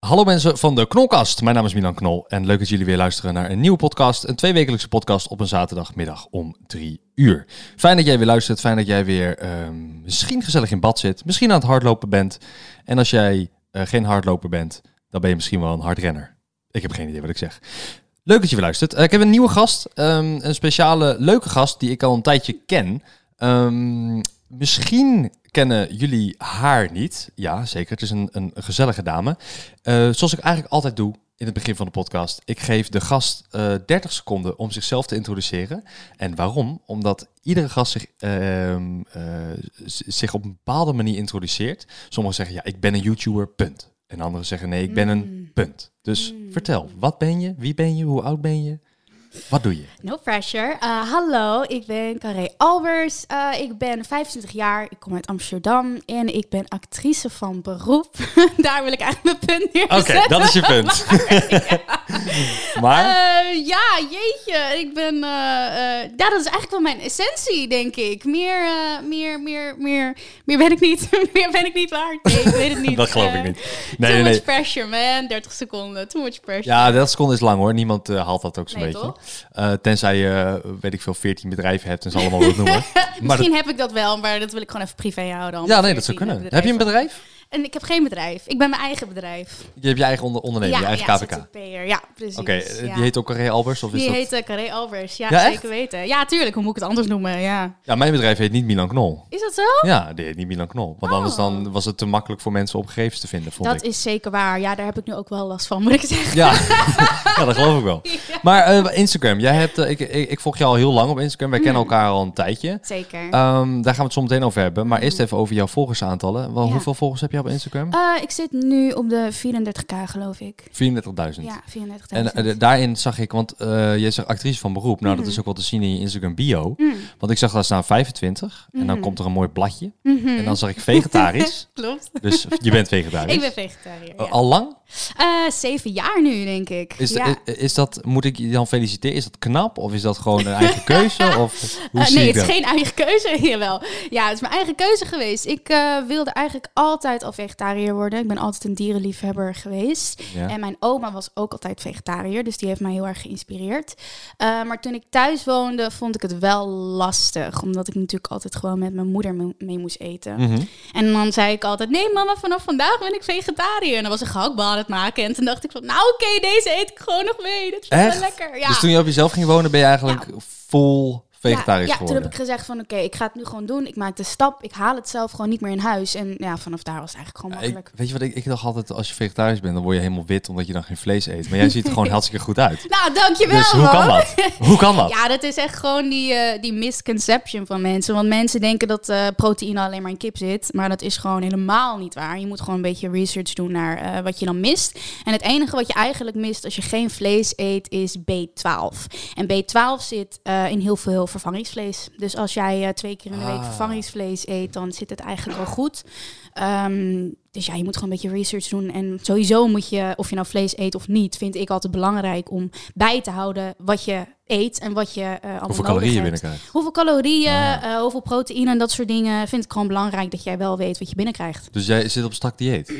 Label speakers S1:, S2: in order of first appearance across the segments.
S1: Hallo mensen van de Knolkast. Mijn naam is Milan Knol en leuk dat jullie weer luisteren naar een nieuwe podcast. Een tweewekelijkse podcast op een zaterdagmiddag om drie uur. Fijn dat jij weer luistert. Fijn dat jij weer ehm, misschien gezellig in bad zit. Misschien aan het hardlopen bent. En als jij eh, geen hardloper bent, dan ben je misschien wel een hardrenner. Ik heb geen idee wat ik zeg. Leuk dat je weer luistert. Eh, ik heb een nieuwe gast. ehm, een speciale leuke gast die ik al een tijdje ken. Ehm, misschien kennen jullie haar niet. Ja, zeker. Het is een, een gezellige dame. Eh, zoals ik eigenlijk altijd doe in het begin van de podcast. Ik geef de gast eh 30 seconden om zichzelf te introduceren. En waarom? Omdat iedere gast zich, ehm, eh, z- zich op een bepaalde manier introduceert. Sommigen zeggen, ja, ik ben een YouTuber, punt. En anderen zeggen, nee, ik ben een
S2: Hmm.
S1: punt. Dus vertel, wat ben je? Wie ben je? Hoe oud ben je? Wat doe je?
S2: No pressure. Eh, hallo, ik ben Carré Albers. Eh, ik ben 25 jaar. Ik kom uit Amsterdam en ik ben actrice van beroep. Daar wil ik eigenlijk mijn punt
S1: Oké,
S2: neerzetten.
S1: dat is je punt. maar,
S2: Eh, ja, jeetje. Ik ben. eh, eh, ja, dat is eigenlijk wel mijn essentie, denk ik. Meer, eh, meer, meer, meer. Meer ben ik niet. meer ben ik niet waard. Nee, ik weet het niet.
S1: dat geloof ik
S2: Eh,
S1: niet.
S2: too
S1: Nee, nee,
S2: much
S1: nee.
S2: pressure, man. 30 seconden. Too much pressure.
S1: Ja, 30 seconden is lang hoor. Niemand eh, haalt dat ook zo'n
S2: Nee,
S1: beetje.
S2: toch?
S1: Eh, tenzij je, eh, weet ik veel, 14 bedrijven hebt en ze allemaal wilt noemen. Maar
S2: Misschien
S1: dat,
S2: heb ik dat wel, maar dat wil ik gewoon even privé houden.
S1: ja,
S2: allemaal
S1: nee, dat zou
S2: 14
S1: kunnen. Heb je een bedrijf?
S2: En ik heb geen bedrijf. Ik ben mijn eigen bedrijf.
S1: Je hebt je eigen onder onderneming, je eigen
S2: ja,
S1: KVK. Oké,
S2: ZZP'er. Ja, precies.
S1: eh,
S2: ja.
S1: die heet ook Carré Albers? Of is
S2: Die
S1: dat...
S2: heet eh, Carré Albers. Ja,
S1: Ja, echt?
S2: zeker weten. Ja, tuurlijk. Hoe moet ik het anders noemen? Ja.
S1: Ja, mijn bedrijf heet niet Milan Knol.
S2: Is dat zo?
S1: Ja, die heet niet Milan Knol. Want anders dan was het te makkelijk voor mensen om gegevens te vinden, vond
S2: Oh. Dat
S1: ik.
S2: is zeker waar. Ja, daar heb ik nu ook wel last van, moet ik zeggen.
S1: Ja. ja, dat geloof ik wel. Maar eh, Instagram, jij hebt, eh, ik, ik, ik volg jou al heel lang op Instagram. Wij kennen
S2: Hmm.
S1: elkaar al een tijdje.
S2: Zeker.
S1: Ehm, daar gaan we het zo meteen over hebben. Maar eerst even over jouw volgersaantallen. Wel,
S2: Hmm. Ja.
S1: Hoeveel volgers heb je op Instagram?
S2: Eh, ik zit nu op de 34k, geloof ik.
S1: 34.000.
S2: Ja, 34.000.
S1: En eh, daarin zag ik, want eh je zegt actrice van beroep. Nou,
S2: Hmm.
S1: dat is ook wel te zien in je Instagram bio. Want ik zag daar staan 25. En
S2: Hmm.
S1: dan komt er een mooi bladje. En dan zag ik vegetarisch.
S2: Klopt.
S1: dus je bent vegetarisch.
S2: Ik ben vegetariër.
S1: Eh,
S2: ja.
S1: al lang?
S2: Eh, zeven jaar nu, denk ik.
S1: Is,
S2: ja.
S1: is, is dat, moet ik je dan feliciteren? Is dat knap? Of is dat gewoon een eigen keuze? Of hoe
S2: Eh,
S1: zie
S2: nee,
S1: ik
S2: het is
S1: dat?
S2: geen eigen keuze. Jawel. Ja, het is mijn eigen keuze geweest. Ik eh, wilde eigenlijk altijd al vegetariër worden. Ik ben altijd een dierenliefhebber geweest.
S1: Ja.
S2: En mijn oma was ook altijd vegetariër. Dus die heeft mij heel erg geïnspireerd. Eh, maar toen ik thuis woonde, vond ik het wel lastig. Omdat ik natuurlijk altijd gewoon met mijn moeder me- mee moest eten.
S1: Mhm.
S2: En dan zei ik altijd, nee mama, vanaf vandaag ben ik vegetariër. En dan was ik gehaktbal aan het maken. En toen dacht ik van, nou oké, deze eet ik gewoon nog mee. Dat vind ik wel
S1: Echt?
S2: lekker. Ja.
S1: Dus toen je op jezelf ging wonen, ben je eigenlijk full vegetarisch
S2: Ja, ja, toen
S1: geworden?
S2: heb ik gezegd van oké, ik ga het nu gewoon doen. Ik maak de stap, ik haal het zelf gewoon niet meer in huis. En ja, vanaf daar was het eigenlijk gewoon
S1: Ja, ik-
S2: makkelijk.
S1: weet je wat, ik, ik dacht altijd als je vegetarisch bent, dan word je helemaal wit omdat je dan geen vlees eet. Maar jij ziet er gewoon hartstikke goed uit.
S2: Nou, dankjewel
S1: Dus hoe kan
S2: man.
S1: dat? Hoe kan dat?
S2: Ja, dat is echt gewoon die, eh, die misconception van mensen. Want mensen denken dat eh, proteïne alleen maar in kip zit. Maar dat is gewoon helemaal niet waar. Je moet gewoon een beetje research doen naar eh, wat je dan mist. En het enige wat je eigenlijk mist als je geen vlees eet, is B12. En B12 zit eh, in heel veel vervangingsvlees. Dus als jij eh, twee keer in de
S1: Ah.
S2: week vervangingsvlees eet, dan zit het eigenlijk wel goed. Ehm, dus ja, je moet gewoon een beetje research doen. En sowieso moet je, of je nou vlees eet of niet, vind ik altijd belangrijk om bij te houden wat je eet en wat je eh allemaal
S1: Hoeveel
S2: nodig
S1: calorieën
S2: hebt.
S1: binnenkrijgt. Ah,
S2: Hoeveel calorieën, eh, hoeveel proteïne en dat soort dingen. Vind ik gewoon belangrijk dat jij wel weet wat je binnenkrijgt.
S1: Dus jij zit op strak dieet.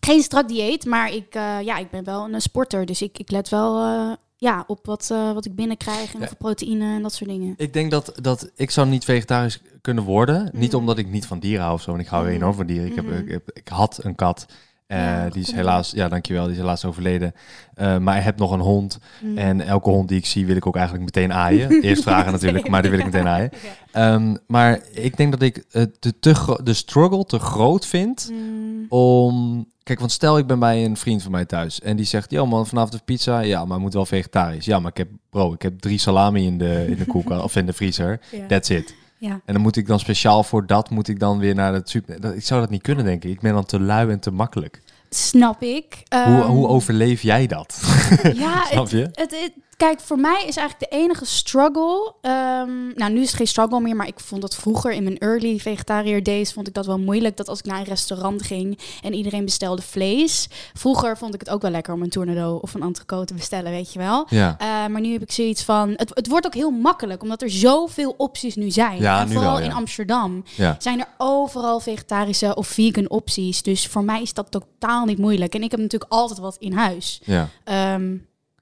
S2: Geen strak dieet, maar ik, eh, ja, ik ben wel een eh, sporter. Dus ik, ik let wel eh, ja, op wat, eh, wat ik binnenkrijg en hoeveel proteïne en dat soort dingen.
S1: Ik denk dat, dat ik zou niet vegetarisch kunnen worden. Niet omdat ik niet van dieren hou of zo. Want ik hou enorm van dieren. Ik, heb, ik, heb- ik had een kat. eh, die is helaas, ja dankjewel, die is helaas overleden. Eh, maar ik heb nog een hond. En elke hond die ik zie wil ik ook eigenlijk meteen aaien. Eerst vragen natuurlijk, maar die wil ik meteen aaien. Ehm, maar ik denk dat ik eh, de, te gro- de struggle te groot vind
S2: Mm.
S1: om... Kijk, want stel ik ben bij een vriend van mij thuis en die zegt... Yo man, vanavond de pizza. Ja, maar moet wel vegetarisch. Ja, maar ik heb, bro, ik heb drie salami in de, in de koelkast of in de vriezer.
S2: Ja.
S1: That's it.
S2: Ja.
S1: En dan moet ik dan speciaal voor dat, moet ik dan weer naar het super... dat- Ik zou dat niet kunnen, denk ik. Ik ben dan te lui en te makkelijk.
S2: Snap ik.
S1: Hoe,
S2: Ehm,
S1: hoe overleef jij dat?
S2: Ja,
S1: Snap
S2: het-
S1: je?
S2: Het, het- kijk, voor mij is eigenlijk de enige struggle. ehm, nou, nu is het geen struggle meer, maar ik vond dat vroeger in mijn early vegetariër days vond ik dat wel moeilijk. Dat als ik naar een restaurant ging en iedereen bestelde vlees. Vroeger vond ik het ook wel lekker om een tornado of een entrecote te bestellen, weet je wel.
S1: Ja.
S2: Eh, maar nu heb ik zoiets van. Het, het wordt ook heel makkelijk, omdat er zoveel opties nu zijn.
S1: Ja,
S2: en
S1: nu
S2: vooral
S1: wel, ja.
S2: in Amsterdam
S1: Ja.
S2: zijn er overal vegetarische of vegan opties. Dus voor mij is dat totaal niet moeilijk. En ik heb natuurlijk altijd wat in huis.
S1: Ja,
S2: Ehm,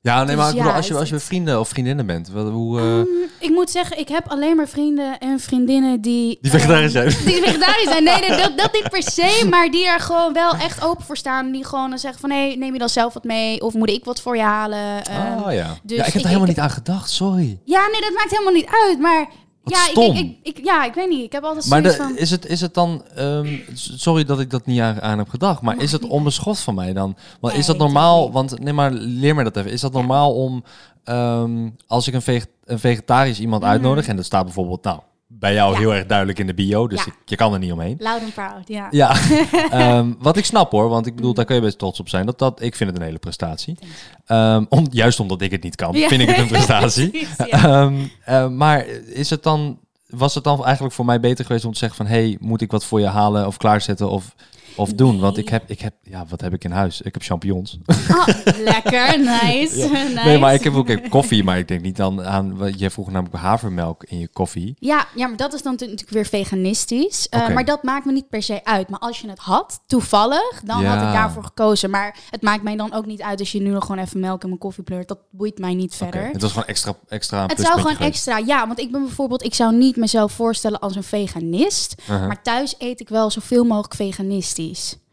S1: ja nee, maar
S2: Dus
S1: ik
S2: ja,
S1: bedoel, als, je,
S2: is
S1: als je
S2: het-
S1: vrienden of vriendinnen bent, wel, hoe... eh,
S2: Ik moet zeggen, ik heb alleen maar vrienden en vriendinnen die...
S1: die vegetarisch zijn.
S2: eh, die vegetarisch zijn. Nee, nee, dat, dat niet per se, maar die er gewoon wel echt open voor staan. Die gewoon dan zeggen van, hé, neem je dan zelf wat mee? Of moet ik wat voor je halen? Ehm,
S1: oh ja.
S2: dus
S1: ja, ik heb
S2: ik-
S1: er helemaal
S2: ik-
S1: niet aan gedacht, sorry.
S2: Ja, nee, dat maakt helemaal niet uit, maar...
S1: Wat
S2: ja, ik-
S1: stom.
S2: Ik, ik, ik- ja, ik weet niet. Ik heb altijd
S1: Maar
S2: zoiets
S1: de-
S2: van...
S1: is, het, is het dan, ehm, s- sorry dat ik dat niet aan, aan heb gedacht, maar is het onbeschoft van mij dan? Want is
S2: Nee,
S1: dat
S2: natuurlijk
S1: normaal,
S2: niet.
S1: want nee maar leer me dat even, is dat normaal om ehm, als ik een, vege- een vegetarisch iemand uitnodig en dat staat bijvoorbeeld nou bij jou
S2: Mhm. Ja.
S1: heel erg duidelijk in de bio, dus
S2: Ja.
S1: ik- je kan er niet omheen.
S2: Loud and proud, ja. Mhm.
S1: Ja, ehm, wat ik snap hoor, want ik bedoel, daar kun je best trots op zijn. Dat, dat, ik vind het een hele prestatie. Ehm, om, juist omdat ik het niet kan,
S2: Ja.
S1: vind ik het een prestatie.
S2: Precies, ja.
S1: Ehm, eh, maar is het dan, was het dan eigenlijk voor mij beter geweest om te zeggen van... hey, moet ik wat voor je halen of klaarzetten of, of doen? Want ik heb, ik heb, ja, wat heb ik in huis? Ik heb champignons.
S2: Oh, lekker, nice, nice.
S1: Nee, maar ik heb ook ik heb koffie, maar ik denk niet aan... aan wat- jij vroeg namelijk havermelk in je koffie.
S2: Ja, ja, maar dat is dan tu- natuurlijk weer veganistisch. Uh,
S1: Oké.
S2: Maar dat maakt me niet per se uit. Maar als je het had, toevallig, dan had
S1: Ja.
S2: ik daarvoor gekozen. Maar het maakt mij dan ook niet uit als je nu nog gewoon even melk in mijn koffie pleurt. Dat boeit mij niet verder.
S1: Het was gewoon extra, extra een
S2: Het zou
S1: pluspuntje
S2: gewoon
S1: geweest.
S2: extra, ja, want ik ben bijvoorbeeld, ik zou niet mezelf voorstellen als een veganist.
S1: Uh-huh.
S2: Maar thuis eet ik wel zoveel mogelijk veganistisch.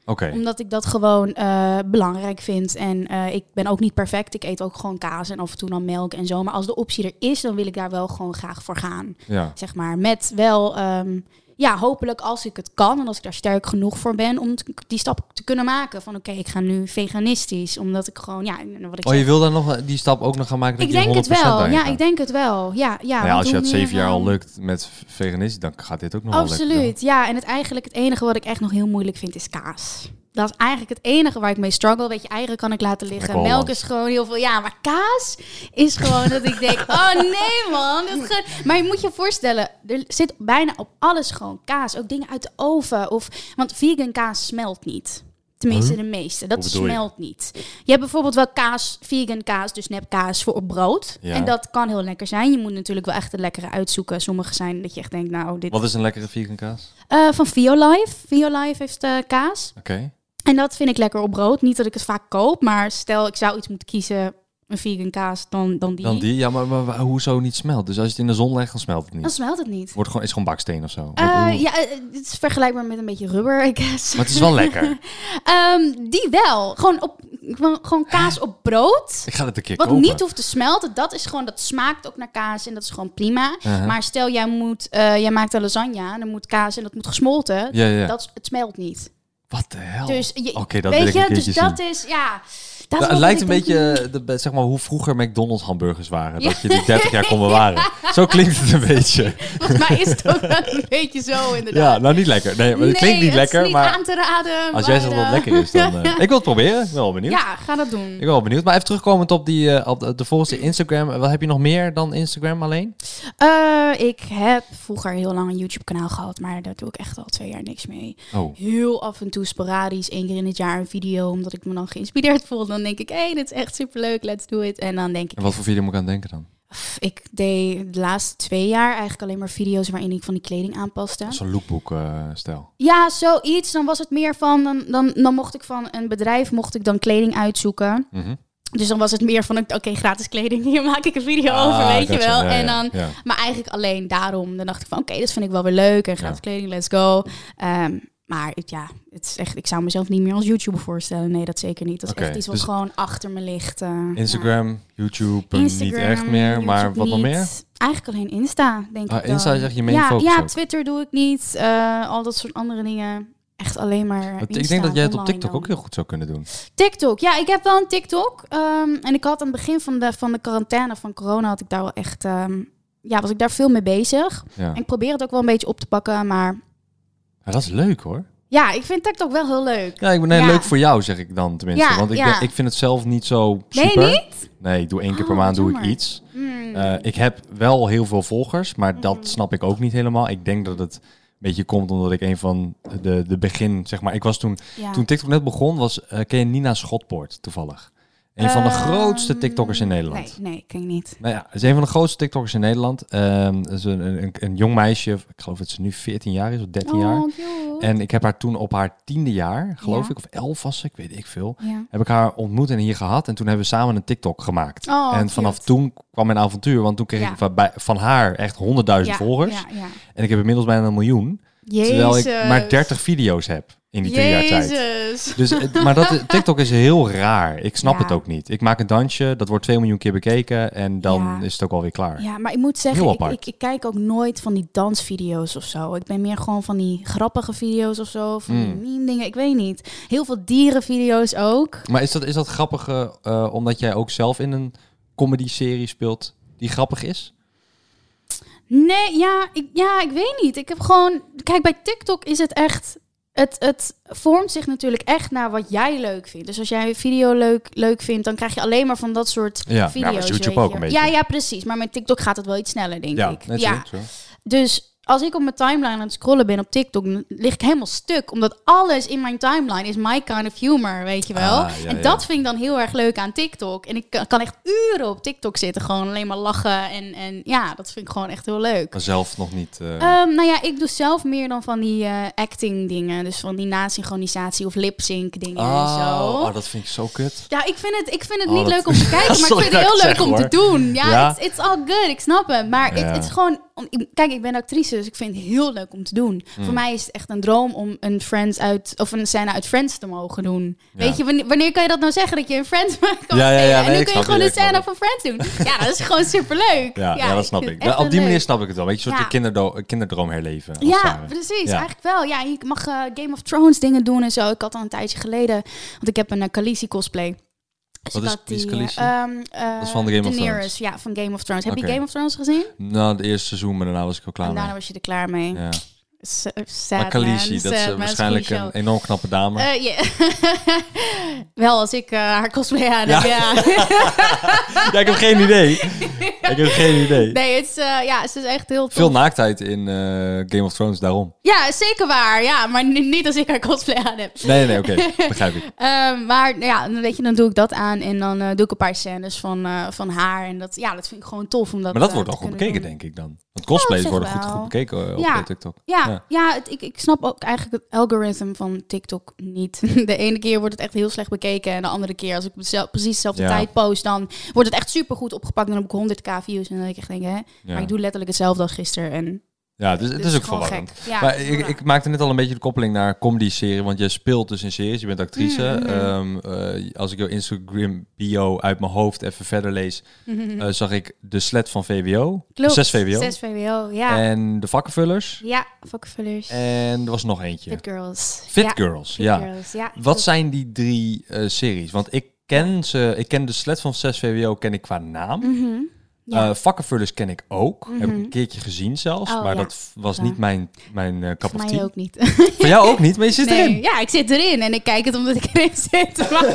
S1: Oké,
S2: Omdat ik dat gewoon eh, belangrijk vind. En eh, ik ben ook niet perfect. Ik eet ook gewoon kaas en af en toe dan melk en zo. Maar als de optie er is, dan wil ik daar wel gewoon graag voor gaan
S1: ja.
S2: zeg maar. Met wel, ehm, ja, hopelijk als ik het kan en als ik daar sterk genoeg voor ben om t- die stap te kunnen maken. Van oké, ik ga nu veganistisch, omdat ik gewoon, ja, wat ik
S1: Oh,
S2: zeg.
S1: je wil daar nog die stap ook nog gaan maken? Dat
S2: ik
S1: je
S2: denk
S1: 100%
S2: het wel.
S1: daarin
S2: Ja,
S1: gaat?
S2: ik denk het wel. Ja,
S1: Nou
S2: ja,
S1: ja,
S2: want
S1: als je
S2: hoe
S1: het
S2: meer
S1: zeven jaar
S2: van-
S1: al lukt met v- veganistisch, dan gaat dit ook nog wel lukken.
S2: Absoluut, ja. En het eigenlijk het enige wat ik echt nog heel moeilijk vind is kaas. Dat is eigenlijk het enige waar ik mee struggle. Weet je, eieren kan ik laten liggen.
S1: Lekker
S2: Melk
S1: Hollands.
S2: is gewoon heel veel. Ja, maar kaas is gewoon dat ik denk, oh nee man. Dat is gewoon- Maar je moet je voorstellen, er zit bijna op alles gewoon kaas. Ook dingen uit de oven. Of... Want vegan kaas smelt niet. Tenminste, de meeste. Dat
S1: Hoe bedoel je?
S2: smelt niet. Je hebt bijvoorbeeld wel kaas, vegan kaas, dus nepkaas voor op brood.
S1: Ja.
S2: En dat kan heel lekker zijn. Je moet natuurlijk wel echt de lekkere uitzoeken. Sommige zijn dat je echt denkt, nou, dit
S1: Wat is een lekkere vegan kaas?
S2: eh, van Violife. Violife heeft eh, kaas.
S1: Oké.
S2: En dat vind ik lekker op brood. Niet dat ik het vaak koop, maar stel ik zou iets moeten kiezen, een vegan kaas, dan, dan die.
S1: Dan die, ja, maar, maar, maar hoezo niet smelt? Dus als je het in de zon legt, dan smelt het
S2: Dan
S1: niet.
S2: smelt het niet.
S1: Wordt gewoon, is gewoon baksteen of zo. Wat-
S2: Eh,
S1: hoe-
S2: ja, eh, het is vergelijkbaar met een beetje rubber, I guess.
S1: Maar het is wel lekker.
S2: Ehm, die wel. Gewoon, op, gewoon- gewoon kaas op brood.
S1: Ik ga het een keer
S2: Wat
S1: kopen.
S2: niet hoeft te smelten, dat is gewoon, dat smaakt ook naar kaas en dat is gewoon prima.
S1: Uh-huh.
S2: Maar stel jij moet, eh, jij maakt een lasagne en dan moet kaas en dat moet gesmolten.
S1: Ja, ja.
S2: Dat, is- het smelt niet.
S1: Wat de hel?
S2: Dus je,
S1: Oh, Oké, dat
S2: weet
S1: wil ik een
S2: je,
S1: keertje
S2: dus
S1: zien. Nou,
S2: dat is ja. Dat is
S1: het
S2: wat
S1: lijkt een
S2: ik denk,
S1: beetje eh, de, be- zeg maar, hoe vroeger McDonald's hamburgers waren. Dat je die 30 jaar kon bewaren. Zo klinkt het een beetje.
S2: Volgens mij is het ook wel een beetje zo inderdaad.
S1: Ja, nou niet lekker. Nee, maar het klinkt
S2: Nee,
S1: niet
S2: het
S1: lekker.
S2: is niet
S1: maar
S2: aan te raden.
S1: als jij zegt dat
S2: maar,
S1: het
S2: eh,
S1: lekker is, dan... eh, ik wil het proberen. Wel benieuwd.
S2: Ja, ga dat doen.
S1: Ik ben wel benieuwd. Maar even terugkomend op, die, eh, op de, de volgende Instagram. Eh, Wat heb je nog meer dan Instagram alleen?
S2: Eh, ik heb vroeger heel lang een YouTube kanaal gehad, maar daar doe ik echt al twee jaar niks mee.
S1: Oh.
S2: Heel af en toe sporadisch, één keer in het jaar een video, omdat ik me dan geïnspireerd voel. Dan denk ik, hé, hey, dit is echt superleuk, let's do it. En dan denk ik,
S1: En wat voor video moet ik aan denken dan?
S2: pff, ik deed de laatste twee jaar eigenlijk alleen maar video's waarin ik van die kleding aanpaste.
S1: Zo'n lookbook-stijl.
S2: Ja, zoiets. Dan was het meer van, dan, dan, dan mocht ik van een bedrijf, mocht ik dan kleding uitzoeken.
S1: Mhm.
S2: Dus dan was het meer van, oké, gratis kleding, hier maak ik een video over, weet je wel. en dan,
S1: Ah,
S2: Ah.
S1: Ja,
S2: Maar eigenlijk alleen daarom. Dan dacht ik van, oké, dat vind ik wel weer leuk. En gratis
S1: Ja.
S2: kleding, let's go. Ehm, maar het- ja, het is echt, ik zou mezelf niet meer als YouTuber voorstellen. Nee, dat zeker niet. Dat is
S1: Oké,
S2: echt iets wat
S1: dus-
S2: gewoon achter me ligt. eh, ja.
S1: Instagram, YouTube, eh,
S2: Instagram,
S1: niet echt meer.
S2: YouTube
S1: Maar wat nog
S2: niet.
S1: meer?
S2: Eigenlijk alleen Insta, denk
S1: Ah,
S2: ik. dan.
S1: Insta is echt je main
S2: ja,
S1: focus
S2: Ja,
S1: ook.
S2: Twitter doe ik niet. eh, al dat soort andere dingen. Echt alleen maar.
S1: Want
S2: Insta,
S1: ik denk dat jij het op
S2: online
S1: TikTok
S2: dan.
S1: ook heel goed zou kunnen doen.
S2: TikTok, ja, ik heb wel een TikTok. ehm, en ik had aan het begin van de, van de quarantaine van corona, had ik daar wel echt. ehm, ja, was ik daar veel mee bezig.
S1: Ja.
S2: En ik probeer het ook wel een beetje op te pakken, maar
S1: Ja, dat is leuk hoor.
S2: Ja, ik vind TikTok wel heel leuk.
S1: Ja, ik ben nee,
S2: Ja.
S1: leuk voor jou, zeg ik dan tenminste.
S2: Ja,
S1: Want ik,
S2: ja.
S1: ben- ik vind het zelf niet zo
S2: Nee,
S1: super.
S2: niet?
S1: Nee, ik doe één keer per
S2: Oh,
S1: maand doe ik
S2: jammer.
S1: iets.
S2: Hmm,
S1: Eh, ik heb wel heel veel volgers, maar
S2: Mhm.
S1: dat snap ik ook niet helemaal. Ik denk dat het een beetje komt omdat ik een van de, de begin, zeg maar. Ik was toen,
S2: Ja.
S1: toen TikTok net begon, was, eh, ken je Nina Schotpoort toevallig? Een van de grootste
S2: Ehm,
S1: TikTokkers in Nederland.
S2: Nee, nee, ik denk niet.
S1: Nou ja, ze is een van de grootste TikTokkers in Nederland. Ehm, dat is een, een, een jong meisje, ik geloof dat ze nu 14 jaar is of 13 jaar.
S2: Oh, cute.
S1: En ik heb haar toen op haar tiende jaar, geloof
S2: Ja.
S1: ik, of elf was ze, ik weet ik veel.
S2: Ja.
S1: Heb ik haar ontmoet en hier gehad. En toen hebben we samen een TikTok gemaakt.
S2: Oh,
S1: en
S2: cute.
S1: vanaf toen kwam mijn avontuur. Want toen kreeg
S2: Ja.
S1: ik van, bij- van haar echt 100.000
S2: Ja,
S1: volgers.
S2: Ja, ja.
S1: En ik heb inmiddels bijna een miljoen.
S2: Jezus.
S1: Terwijl ik maar 30 video's heb in die twee jaar tijd.
S2: Jezus.
S1: Dus, het- maar dat, TikTok is heel raar. Ik snap
S2: Ja.
S1: het ook niet. Ik maak een dansje, dat wordt 2 miljoen keer bekeken. En dan
S2: Ja.
S1: is het ook alweer klaar.
S2: Ja, maar ik moet zeggen,
S1: Heel
S2: ik,
S1: apart.
S2: ik, ik kijk ook nooit van die dansvideo's of zo. Ik ben meer gewoon van die grappige video's of zo. Van
S1: Mm.
S2: die meme dingen, ik weet niet. Heel veel dierenvideo's ook.
S1: Maar is dat, is dat grappig eh, omdat jij ook zelf in een comedy-serie speelt die grappig is?
S2: Nee, ja ik, ja, ik weet niet. Ik heb gewoon... Kijk, bij TikTok is het echt... Het, het vormt zich natuurlijk echt naar wat jij leuk vindt. Dus als jij een video leuk, leuk vindt, dan krijg je alleen maar van dat soort
S1: Ja, ja,
S2: video's.
S1: maar is YouTube
S2: weet
S1: ook
S2: je.
S1: een beetje.
S2: Ja, ja, precies. Maar met TikTok gaat het wel iets sneller, denk ik.
S1: natuurlijk. zo.
S2: Dus als ik op mijn timeline aan het scrollen ben op TikTok, dan lig ik helemaal stuk. Omdat alles in mijn timeline is my kind of humor, weet je wel.
S1: Ah, ja,
S2: en
S1: ja.
S2: dat vind ik dan heel erg leuk aan TikTok. En ik kan- kan echt uren op TikTok zitten, gewoon alleen maar lachen. En, en ja, dat vind ik gewoon echt heel leuk.
S1: Maar zelf nog niet. eh,
S2: Ehm, nou ja, ik doe zelf meer dan van die eh, acting dingen. Dus van die nasynchronisatie of lip sync dingen en zo.
S1: oh, dat vind ik zo kut.
S2: Ja, ik vind het, ik vind het
S1: Oh,
S2: niet
S1: dat-
S2: leuk om te kijken, maar ik
S1: Sorry
S2: vind
S1: dat
S2: het
S1: ik
S2: heel
S1: het zeg,
S2: leuk om te
S1: hoor.
S2: doen. Ja,
S1: Ja?
S2: It's, it's all good, ik snap het. Maar het-
S1: Ja.
S2: het is gewoon... om- ik- kijk, ik ben actrice, dus ik vind het heel leuk om te doen.
S1: Hmm.
S2: Voor mij is het echt een droom om een Friends uit... of een scène uit Friends te mogen doen. Weet je, wanneer, wanneer kan je dat nou zeggen dat je een Friends mag kan
S1: Ja, ja, ja,
S2: spelen?
S1: nee,
S2: en nu
S1: ik
S2: kun je
S1: snap
S2: gewoon
S1: je,
S2: een
S1: ik snap
S2: scène
S1: je.
S2: van Friends doen. Ja, dat is gewoon superleuk.
S1: Ja, ja, dat snap
S2: vind
S1: ik. Nou, op
S2: het echt
S1: die
S2: heel
S1: manier
S2: leuk.
S1: snap ik het wel. Weet je, een soort
S2: Ja.
S1: kinderdo- kinderdroom herleven. als het
S2: Ja,
S1: ware.
S2: precies.
S1: eh, Ja.
S2: Eigenlijk wel. Ja, ik mag eh, Game of Thrones dingen doen en zo. Ik had al een tijdje geleden, want ik heb een uh, cosplay. Dus
S1: Wat
S2: ik
S1: is-
S2: had
S1: wie is
S2: die,
S1: Khaleesi?
S2: eh, ehm, eh,
S1: is van de Game of
S2: Daenerys,
S1: Thrones.
S2: Ja, van Game of Thrones. Heb
S1: Oké. Ah,
S2: je Game of Thrones gezien?
S1: Na het eerste seizoen, maar daarna was ik al klaar
S2: en daarna
S1: mee.
S2: was je er klaar mee.
S1: Ja.
S2: S- eh, Sad,
S1: Maar Khaleesi,
S2: man.
S1: dat is eh,
S2: Sad, man.
S1: waarschijnlijk
S2: goede
S1: een
S2: show.
S1: enorm knappe dame.
S2: Eh, ja. wel, als ik eh, haar cosplay aan heb, ja.
S1: ja, ik heb geen idee. Ik heb geen idee.
S2: nee, het is, eh, ja, ze is echt heel tof.
S1: Veel naaktheid in eh, Game of Thrones, daarom.
S2: ja, zeker waar. Ja, maar ni- niet als ik haar cosplay aan heb.
S1: Nee, nee, oké. Begrijp ik.
S2: Ehm, maar nou ja, dan weet je, dan doe ik dat aan en dan eh, doe ik een paar scènes van, eh, van haar. En dat, ja, dat vind ik gewoon tof. Om dat,
S1: Maar dat
S2: eh,
S1: wordt
S2: te
S1: al goed
S2: kunnen
S1: bekeken,
S2: doen.
S1: denk ik dan. Want cosplays
S2: zich
S1: worden goed,
S2: wel.
S1: goed bekeken eh, op
S2: Ja.
S1: eh, TikTok.
S2: Ja, ja. het- ik, ik snap ook eigenlijk het algoritme van TikTok niet. De ene keer wordt het echt heel slecht bekeken. En de andere keer, als ik mezelf- precies dezelfde
S1: Ja.
S2: tijd post, dan wordt het echt supergoed opgepakt. En dan heb ik 100k views. En dan denk ik echt, denk, hè?
S1: Ja.
S2: Maar ik doe letterlijk hetzelfde als gisteren. En
S1: Ja, dus, het
S2: Dit
S1: is
S2: is
S1: ook
S2: gewoon
S1: verwarrend.
S2: gek. Ja,
S1: maar ik,
S2: voilà.
S1: ik maakte net al een beetje de koppeling naar comedy-serie, want jij speelt dus in series, je bent actrice.
S2: Mm,
S1: Ehm, eh, als ik jouw Instagram bio uit mijn hoofd even verder lees, eh, zag ik de slet van VWO,
S2: Mhm. Mm. klopt.
S1: 6 VWO,
S2: 6 VWO, ja.
S1: en de vakkenvullers,
S2: ja, vakkenvullers.
S1: en er was nog eentje.
S2: Fit girls.
S1: Fit
S2: ja.
S1: Girls,
S2: Fit
S1: ja.
S2: girls, ja.
S1: Wat zijn die drie eh, series? Want ik ken ze, ik ken de slet van 6 VWO ken ik qua naam.
S2: ja. Mhm.
S1: Eh, vakkenvullers ken ik ook. Heb ik een keertje gezien zelfs.
S2: Oh,
S1: maar
S2: ja.
S1: dat f- was
S2: Ja.
S1: niet mijn, mijn eh cup
S2: Voor
S1: of
S2: mij
S1: tea.
S2: ook niet.
S1: Voor jou ook niet, maar je zit
S2: Nee,
S1: erin.
S2: Ja, ik zit erin en ik kijk het omdat ik erin zit. Maar...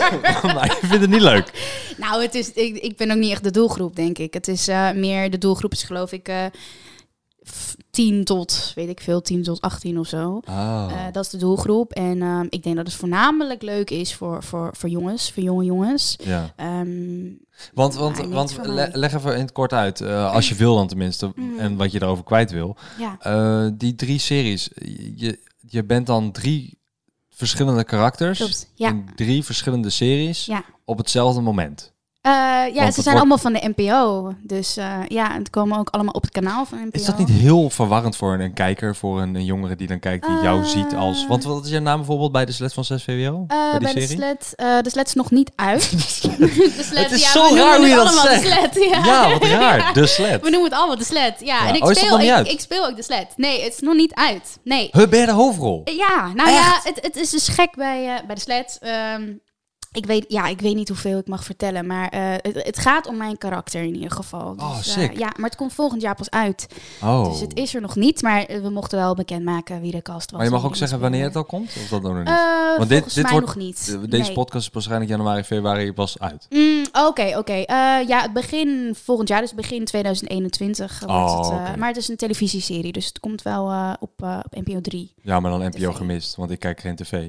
S1: Oh, maar je vindt het niet leuk.
S2: nou, het is, ik, ik ben ook niet echt de doelgroep, denk ik. Het is eh, meer, de doelgroep is geloof ik eh, f- 10 tot, weet ik veel, 10 tot 18 of zo.
S1: Ah,
S2: Eh,
S1: Oh.
S2: dat is de doelgroep. En ehm, ik denk dat het voornamelijk leuk is voor, voor, voor jongens, voor jonge jongens.
S1: Ja.
S2: Ehm,
S1: Want, want,
S2: Maar niks
S1: want
S2: voor
S1: le-
S2: mij. Mhm.
S1: leg even in het kort uit, eh, als je wil dan tenminste, en wat je daarover kwijt wil.
S2: ja.
S1: Eh, die drie series, je, je bent dan drie verschillende karakters
S2: Klopt, ja.
S1: in drie verschillende series
S2: Ja.
S1: op hetzelfde moment.
S2: Eh, ja,
S1: het
S2: ze zijn
S1: wordt-
S2: allemaal van de NPO. Dus eh, ja, en het komen ook allemaal op het kanaal van NPO.
S1: Is dat niet heel verwarrend voor een, een kijker, voor een, een jongere die dan kijkt, die jou
S2: Eh.
S1: ziet als... Want wat is je naam bijvoorbeeld bij de slet van 6 VWO?
S2: Eh,
S1: bij die
S2: bij de
S1: serie?
S2: sled, eh, de sled is nog niet uit. de sled,
S1: Het is
S2: ja,
S1: zo
S2: we noemen
S1: raar hoe je
S2: het
S1: dat
S2: allemaal
S1: zegt.
S2: De sled, ja.
S1: Ja, wat raar. De slet.
S2: We noemen het allemaal de sled. Ja,
S1: Ja.
S2: en ik,
S1: Oh, is dat nog
S2: speel,
S1: niet uit?
S2: ik, ik speel ook de sled. Nee, het is nog niet uit. Nee.
S1: Huh, ben je de hoofdrol?
S2: Ja, nou ja,
S1: Echt?
S2: het, het is dus gek bij, eh, bij de sled. Ehm, Ik weet, ja, ik weet niet hoeveel ik mag vertellen, maar eh, het, het gaat om mijn karakter in ieder geval. Dus,
S1: Oh,
S2: eh,
S1: sick.
S2: ja, maar het komt volgend jaar pas uit.
S1: Oh.
S2: Dus het is er nog niet, maar eh, we mochten wel bekendmaken wie de cast was.
S1: maar je mag
S2: en
S1: ook
S2: wie de
S1: zeggen wanneer het
S2: speler.
S1: al komt? Of dat nog niet?
S2: Eh,
S1: Want dit-
S2: volgens
S1: dit
S2: mij
S1: wordt-
S2: nog niet.
S1: De-
S2: Nee.
S1: Deze podcast is waarschijnlijk januari, februari pas uit.
S2: Mm, Oké, oké. Eh, ja, het begin volgend jaar, dus begin 2021 wordt
S1: Oh,
S2: het. eh,
S1: oké.
S2: Maar het is een televisieserie, dus het komt wel eh, op, eh, op NPO 3.
S1: Ja, maar dan NPO
S2: TV.
S1: gemist, want ik kijk geen tv.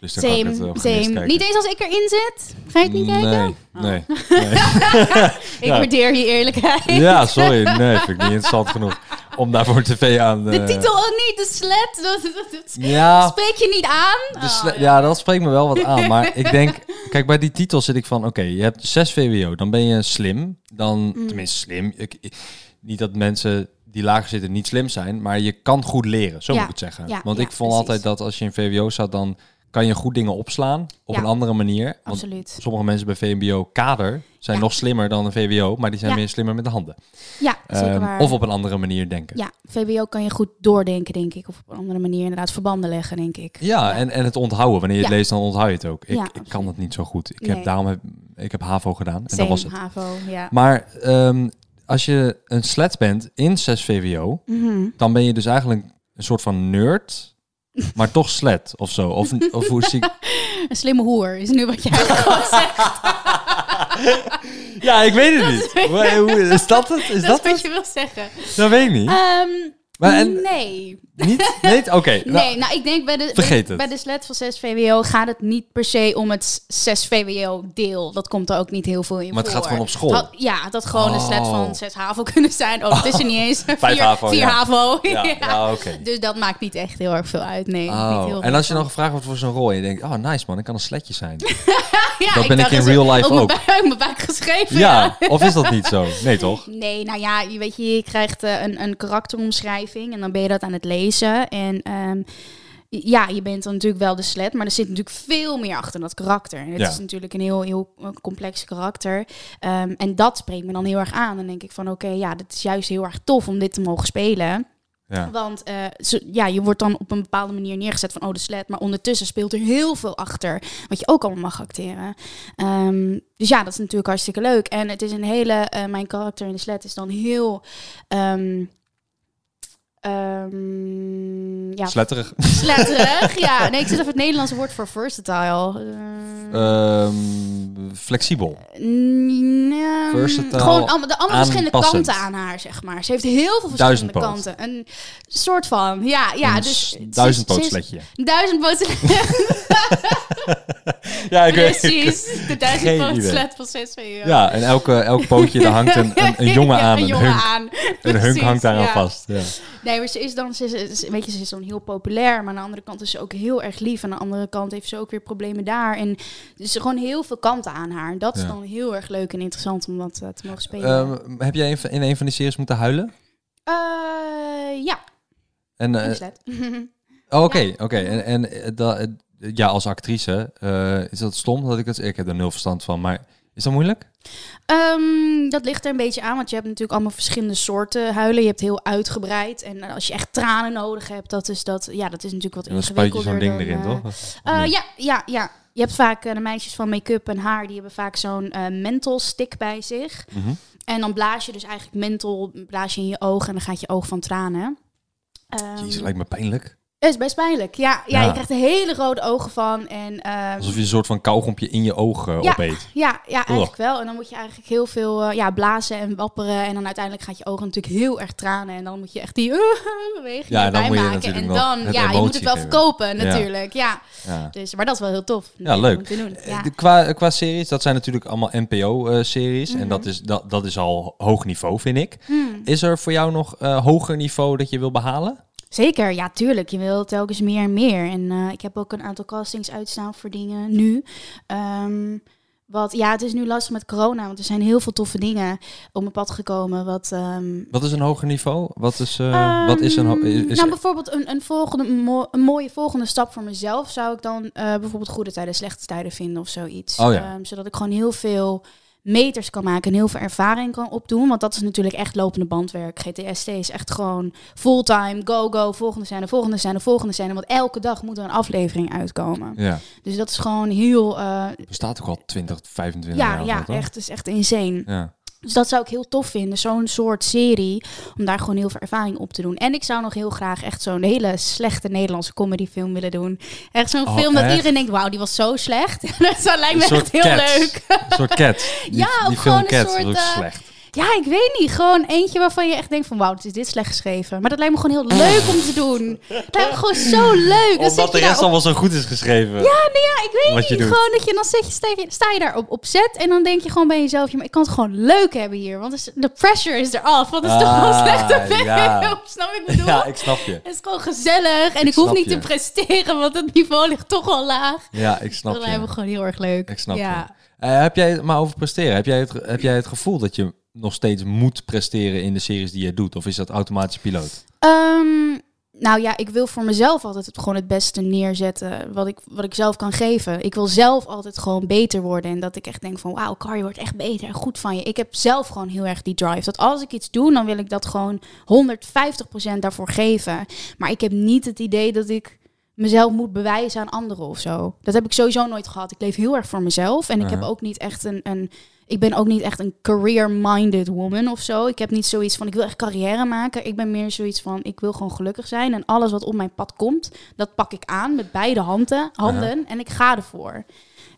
S1: Dus dan kan ik het
S2: Same,
S1: eh, gemist
S2: same.
S1: kijken.
S2: Niet eens als ik erin zit? Ga je het niet oh. kijken?
S1: Nee, nee. nee.
S2: Ik waardeer je eerlijkheid.
S1: Ja, sorry. Nee, vind ik niet interessant genoeg om daarvoor tv aan...
S2: De
S1: eh,
S2: titel ook niet, de slet. Dat, dat- dat-
S1: Ja,
S2: Spreek je niet aan? Oh.
S1: de Dus sle- ja, dat spreekt me wel wat aan. Maar ik denk, kijk, bij die titel zit ik van, oké, je hebt zes VWO, dan ben je slim. Dan,
S2: Mm.
S1: tenminste slim. Ik, ik- niet dat mensen die lager zitten niet slim zijn, maar je kan goed leren, zo
S2: Ja,
S1: moet ik het zeggen.
S2: ja,
S1: Want
S2: ja,
S1: ik vond
S2: precies.
S1: altijd dat als je in VWO staat, dan kan je goed dingen opslaan op
S2: Ja.
S1: een andere manier. Want
S2: Absoluut.
S1: sommige mensen bij VMBO kader zijn
S2: Ja.
S1: nog slimmer dan een VWO, maar die zijn
S2: Ja.
S1: meer slimmer met de handen.
S2: Ja, zeker
S1: Ehm,
S2: waar.
S1: of op een andere manier denken.
S2: Ja, VBO kan je goed doordenken, denk ik. Of op een andere manier inderdaad verbanden leggen, denk ik.
S1: Ja, En, en het onthouden. Wanneer je het
S2: Ja.
S1: leest, dan onthoud je het ook. Ik,
S2: Ja,
S1: ik kan
S2: absoluut.
S1: het niet zo goed. Ik heb
S2: Nee.
S1: daarom heb, ik heb HAVO gedaan. En dat
S2: Same,
S1: was het.
S2: HAVO, ja.
S1: Maar ehm, als je een slet bent in 6 VWO,
S2: Mhm.
S1: dan ben je dus eigenlijk een soort van nerd, maar toch slet of zo. Of, of hoe zie ik...
S2: Een slimme hoer is nu wat jij gewoon zegt.
S1: Ja, ik weet het niet. Hoe- hoe- Is dat het? Is dat,
S2: Dat is wat
S1: het?
S2: je wil zeggen.
S1: Dat weet ik niet.
S2: Ehm,
S1: Maar en-
S2: nee.
S1: niet? Nee? Oké. nou,
S2: Nee, nou ik denk bij de,
S1: Vergeet het.
S2: bij, bij de slet van 6 VWO gaat het niet per se om het 6 VWO deel. Dat komt er ook niet heel veel in
S1: Maar het
S2: voor.
S1: gaat gewoon op school.
S2: Het had- ja, dat gewoon een slet van
S1: Oh.
S2: 6 HAVO kunnen zijn. Oh, het is er niet eens.
S1: Vijf HAVO,
S2: 4
S1: ja.
S2: HAVO.
S1: Ja,
S2: Ja.
S1: ja, oké.
S2: Dus dat maakt niet echt heel erg veel uit. Nee, niet
S1: Oh,
S2: heel
S1: En als je
S2: veel.
S1: dan gevraagd wordt voor zo'n rol en je denkt, oh nice man, ik kan een sletje zijn.
S2: Ja,
S1: dat
S2: ik
S1: ben ik
S2: dacht,
S1: in
S2: dat is
S1: real life
S2: op
S1: ook.
S2: mijn buik- mijn buik geschreven.
S1: ja, of is dat niet zo? Nee toch?
S2: Nee, nou ja, je weet je, je krijgt eh, een, een karakteromschrijving en dan ben je dat aan het lezen. En ehm, ja, je bent dan natuurlijk wel de slet, maar er zit natuurlijk veel meer achter dat karakter. En het
S1: Ja.
S2: is natuurlijk een heel, heel eh, complex karakter. Ehm, en dat spreekt me dan heel erg aan. Dan denk ik van, oké, ja, dat is juist heel erg tof om dit te mogen spelen.
S1: Ja.
S2: Want eh, zo- ja, je wordt dan op een bepaalde manier neergezet van oh de slet. Maar ondertussen speelt er heel veel achter. Wat je ook allemaal mag acteren. Ehm, dus ja, dat is natuurlijk hartstikke leuk. En het is een hele. eh, mijn karakter in de slet is dan heel. ehm, ehm, ja,
S1: Sletterig.
S2: sletterig. ja, nee, ik zit even het Nederlandse woord voor versatile.
S1: Eh,
S2: Ehm,
S1: Ehm, flexibel.
S2: Mm, ehm,
S1: Versatile,
S2: Gewoon allemaal, de allemaal verschillende
S1: aanpassend.
S2: kanten aan haar, zeg maar. Ze heeft heel veel verschillende
S1: Duizendpoot.
S2: kanten. Een soort van, ja. ja
S1: Een
S2: dus
S1: s-
S2: ze is- ze is-
S1: duizendpootletje.
S2: Duizendpoot
S1: Ja, ik weet
S2: precies. De duizendpoot
S1: idee.
S2: slet van 6 euro.
S1: Ja, en elke, elk pootje, daar hangt een, een, een jongen aan.
S2: een
S1: Een
S2: jongen
S1: hunk,
S2: aan.
S1: een hunk
S2: Precies,
S1: hangt daaraan
S2: ja.
S1: vast. Ja.
S2: Nee, maar ze is dan, ze is- ze is, weet je, ze is dan heel populair, maar aan de andere kant is ze ook heel erg lief. Aan de andere kant heeft ze ook weer problemen daar. En dus gewoon heel veel kanten aan haar. En dat is
S1: Ja.
S2: dan heel erg leuk en interessant om dat eh, te mogen spelen.
S1: Ehm, heb jij in, in een van die series moeten huilen?
S2: Eh, ja,
S1: En, eh,
S2: ik slet.
S1: oh, oké, oké. En, en eh, dat- eh, ja, als actrice, eh, is dat stom dat ik dat... Ik heb er nul verstand van, maar is dat moeilijk?
S2: Ehm, dat ligt er een beetje aan, want je hebt natuurlijk allemaal verschillende soorten huilen. Je hebt heel uitgebreid. En als je echt tranen nodig hebt, dat is, dat, ja, dat is natuurlijk wat
S1: En dan spuit je
S2: ingewikkelder.
S1: zo'n ding
S2: dan,
S1: erin,
S2: eh,
S1: toch? Of
S2: eh,
S1: niet?
S2: ja, ja, ja. Je hebt vaak eh, de meisjes van make-up en haar, die hebben vaak zo'n eh menthol stick bij zich.
S1: Mhm.
S2: En dan blaas je dus eigenlijk menthol blaas je in je oog en dan gaat je oog van tranen. Ehm,
S1: Jezus, lijkt me pijnlijk.
S2: is best pijnlijk. Ja, ja,
S1: Ja.
S2: je krijgt er hele rode ogen van. En, ehm,
S1: Alsof je een soort van kauwgompje in je ogen
S2: Ja.
S1: opeet.
S2: Ja, ja, eigenlijk wel. En dan moet je eigenlijk heel veel eh, ja, blazen en wapperen. En dan uiteindelijk gaat je ogen natuurlijk heel erg tranen. En dan moet je echt die beweging
S1: Ja, en dan
S2: erbij
S1: moet je
S2: maken.
S1: natuurlijk
S2: En
S1: nog
S2: dan,
S1: het
S2: ja, je moet
S1: emotie
S2: het wel
S1: geven.
S2: verkopen
S1: Ja.
S2: natuurlijk. Ja.
S1: Ja.
S2: Dus, maar dat is wel heel tof.
S1: Ja, leuk.
S2: Om te doen. Ja.
S1: Eh, Qua, qua series, dat zijn natuurlijk allemaal NPO-series. eh, En
S2: Mhm.
S1: dat is, dat, dat is al hoog niveau, vind ik.
S2: Hmm.
S1: Is er voor jou nog eh, hoger niveau dat je wil behalen?
S2: Zeker, ja, tuurlijk. Je wil telkens meer en meer. En eh, ik heb ook een aantal castings uitstaan voor dingen nu. Ehm, wat, ja, het is nu lastig met corona, want er zijn heel veel toffe dingen op mijn pad gekomen. Wat, ehm,
S1: Wat is een hoger niveau? Wat is, eh, wat is een... ho- Is,
S2: Ehm,
S1: is-
S2: nou, bijvoorbeeld een, een, volgende, een mo- een mooie volgende stap voor mezelf zou ik dan eh, bijvoorbeeld goede tijden, slechte tijden vinden of zoiets.
S1: Oh ja.
S2: Ehm, zodat ik gewoon heel veel meters kan maken en heel veel ervaring kan opdoen. Want dat is natuurlijk echt lopende bandwerk. GTST is echt gewoon fulltime, go, go, volgende scène, volgende scène, volgende scène. Want elke dag moet er een aflevering uitkomen.
S1: Ja.
S2: Dus dat is gewoon heel... eh,
S1: Bestaat ook al 20, 25 jaar.
S2: ja,
S1: of
S2: ja,
S1: wat, hoor.
S2: echt. Het is echt insane.
S1: Ja.
S2: Dus dat zou ik heel tof vinden, zo'n soort serie, om daar gewoon heel veel ervaring op te doen. En ik zou nog heel graag echt zo'n hele slechte Nederlandse comedyfilm willen doen. Echt zo'n
S1: Oh,
S2: film dat
S1: echt?
S2: iedereen denkt, wauw, die was zo slecht. dat lijkt me
S1: Een
S2: echt heel
S1: Cats.
S2: leuk.
S1: Een soort cat. Die,
S2: Ja, of
S1: die film
S2: gewoon een
S1: Cats
S2: soort,
S1: was ook
S2: eh,
S1: slecht.
S2: Ja, ik weet niet. Gewoon eentje waarvan je echt denkt van, wauw, dit is dit slecht geschreven. Maar dat lijkt me gewoon heel leuk om te doen. Dat lijkt me gewoon zo leuk. Dan zit
S1: Omdat
S2: je
S1: de
S2: daar
S1: rest
S2: op-
S1: allemaal zo goed is geschreven.
S2: Ja, nee, ja, ik weet
S1: Wat je
S2: niet.
S1: doet.
S2: Gewoon dat je dan zit je, sta, je, sta je daar op, op set en dan denk je gewoon bij jezelf, ja, maar ik kan het gewoon leuk hebben hier. Want is- de pressure is eraf. Want het is toch wel
S1: Ah,
S2: slechte film.
S1: ja.
S2: Snap ik bedoel?
S1: Ja, ik snap je.
S2: Het is gewoon gezellig en ik, hoef
S1: snap
S2: niet
S1: je.
S2: te presteren, want het niveau ligt toch al laag.
S1: Ja, ik snap
S2: Dat lijkt me
S1: je.
S2: gewoon heel erg leuk.
S1: Ik snap
S2: ja.
S1: je. Eh, heb jij het maar over presteren? Heb jij, het, heb jij het gevoel dat je nog steeds moet presteren in de series die je doet? Of is dat automatisch piloot?
S2: Ehm, nou ja, ik wil voor mezelf altijd het, gewoon het beste neerzetten wat ik, wat ik zelf kan geven. Ik wil zelf altijd gewoon beter worden. En dat ik echt denk van wauw, Car, je wordt echt beter en goed van je. Ik heb zelf gewoon heel erg die drive. Dat als ik iets doe, dan wil ik dat gewoon 150% daarvoor geven. Maar ik heb niet het idee dat ik mezelf moet bewijzen aan anderen of zo. Dat heb ik sowieso nooit gehad. Ik leef heel erg voor mezelf. En ik heb
S1: Mhm.
S2: ook niet echt een, een... Ik ben ook niet echt een career-minded woman of zo. Ik heb niet zoiets van, ik wil echt carrière maken. Ik ben meer zoiets van, ik wil gewoon gelukkig zijn. En alles wat op mijn pad komt, dat pak ik aan met beide handen. handen En ik ga ervoor.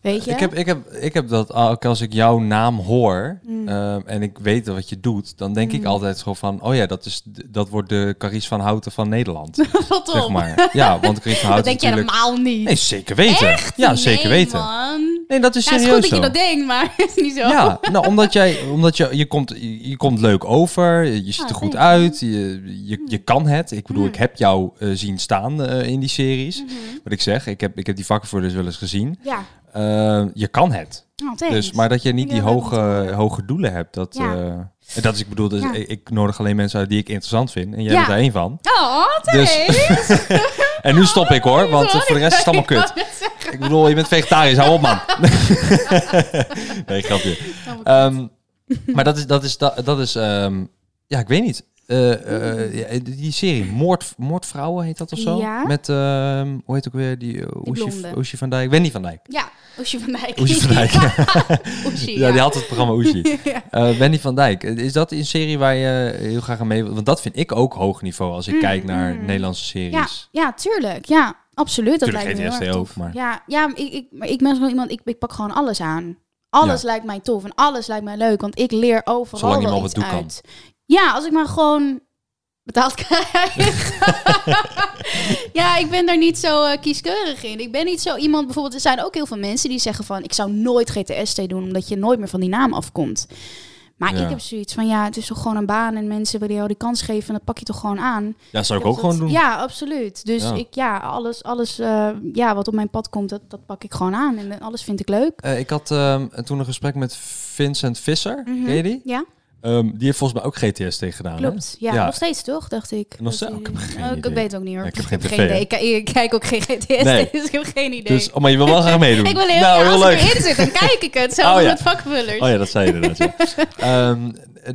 S2: Weet je?
S1: Ik, heb, ik, heb, ik heb dat ook als ik jouw naam hoor
S2: Mm.
S1: ehm, en ik weet wat je doet, dan denk ik altijd zo van, oh ja, dat, is, de- dat wordt de Caries van Houten van Nederland.
S2: Wat
S1: zeg
S2: op?
S1: maar. Ja, want Caries van Houten
S2: Dat denk
S1: is
S2: jij
S1: natuurlijk...
S2: normaal niet.
S1: Nee, zeker weten. Ja, zeker
S2: Nee,
S1: weten.
S2: man.
S1: Nee, dat is
S2: Ja, het
S1: serieus
S2: is goed dat
S1: zo.
S2: je dat denkt, maar het is niet zo.
S1: Ja, nou, omdat jij, omdat je, je komt, je, je komt leuk over, je ziet
S2: Ah, Hmm.
S1: er goed
S2: thanks.
S1: uit, je, je, je kan het. Ik bedoel, ik heb jou eh, zien staan eh, in die series.
S2: Hmm.
S1: Wat ik zeg, ik heb, ik heb die vakken voor dus wel eens gezien.
S2: Mhm. Ja.
S1: Eh, je kan het.
S2: Oh, thanks.
S1: Dus, maar dat je niet
S2: Ja,
S1: die
S2: dat moet
S1: hoge, hoge doelen hebt, dat,
S2: Ja.
S1: eh, en dat is, ik bedoel, dus
S2: Ja.
S1: ik, ik nodig alleen mensen uit die ik interessant vind. En jij
S2: Ja.
S1: bent daar één van.
S2: Oh,
S1: Dus-
S2: thanks.
S1: En nu stop ik hoor, want eh,
S2: Sorry.
S1: voor de rest is het allemaal kut.
S2: Ik wou net zeggen.
S1: Ik bedoel, je bent vegetarisch, hou op man. nee, grapje. Ehm, maar dat is, dat is, dat, dat is ehm, ja, ik weet niet. Eh, eh, ja, die serie Moord, Moordvrouwen heet dat of zo?
S2: Ja.
S1: Met, ehm, hoe heet ook weer die, eh,
S2: Die
S1: Oesje-
S2: blonde.
S1: Oesje van Dijk? Wendy van Dijk.
S2: Ja, Oesje van Dijk.
S1: Oesje van Dijk.
S2: Oesje,
S1: Ja, die had het programma Oesje. Eh, Wendy van Dijk, eh, is dat een serie waar je eh, heel graag aan mee wil? Want dat vind ik ook hoog niveau als ik kijk naar Nederlandse
S2: Mm, Ja,
S1: series.
S2: ja, tuurlijk. Ja, absoluut. Dat
S1: Tuurlijk
S2: lijkt me
S1: geen
S2: heel erg
S1: STO,
S2: tof.
S1: maar-
S2: Ja, ja maar ik, ik, maar ik ben gewoon iemand, ik, ik pak gewoon alles aan. Alles lijkt mij tof en alles lijkt mij leuk, want ik leer overal
S1: Zolang je
S2: wel
S1: maar wat
S2: iets
S1: doe kan.
S2: uit. Ja, als ik maar gewoon betaald krijg. ja, ik ben daar niet zo eh, kieskeurig in. Ik ben niet zo iemand, bijvoorbeeld, er zijn ook heel veel mensen die zeggen van... ik zou nooit GTST doen, omdat je nooit meer van die naam afkomt. Maar
S1: Ja.
S2: ik heb zoiets van, ja, het is toch gewoon een baan... en mensen willen jou die kans geven en dat pak je toch gewoon aan.
S1: Ja, zou ik
S2: heb
S1: ook gewoon
S2: dat-
S1: doen.
S2: Ja, absoluut. Dus
S1: Ja.
S2: ik, ja, alles, alles eh, ja, wat op mijn pad komt, dat, dat pak ik gewoon aan. En eh, alles vind ik leuk.
S1: Eh, ik had ehm, toen een gesprek met Vincent Visser,
S2: Mhm.
S1: ken je die?
S2: Ja,
S1: Ehm, die heeft volgens mij ook GTST gedaan. hè?
S2: klopt. Ja, nog steeds toch, dacht ik.
S1: Nog steeds?
S2: Dat
S1: Ik
S2: die-
S1: heb geen
S2: Oh, ik
S1: idee.
S2: weet ook niet hoor.
S1: Ja, ik heb geen tv,
S2: idee.
S1: hè?
S2: Ik, ik kijk ook geen GTS,
S1: Nee.
S2: dus ik heb geen idee.
S1: Dus, oh, maar je wil wel graag meedoen.
S2: ik wil heel,
S1: nou,
S2: ja,
S1: heel
S2: als
S1: leuk.
S2: ik erin zit, dan kijk ik het. Zelfs
S1: Oh, ja.
S2: met vakvullers.
S1: Oh ja, dat zei je inderdaad. ja. Ehm,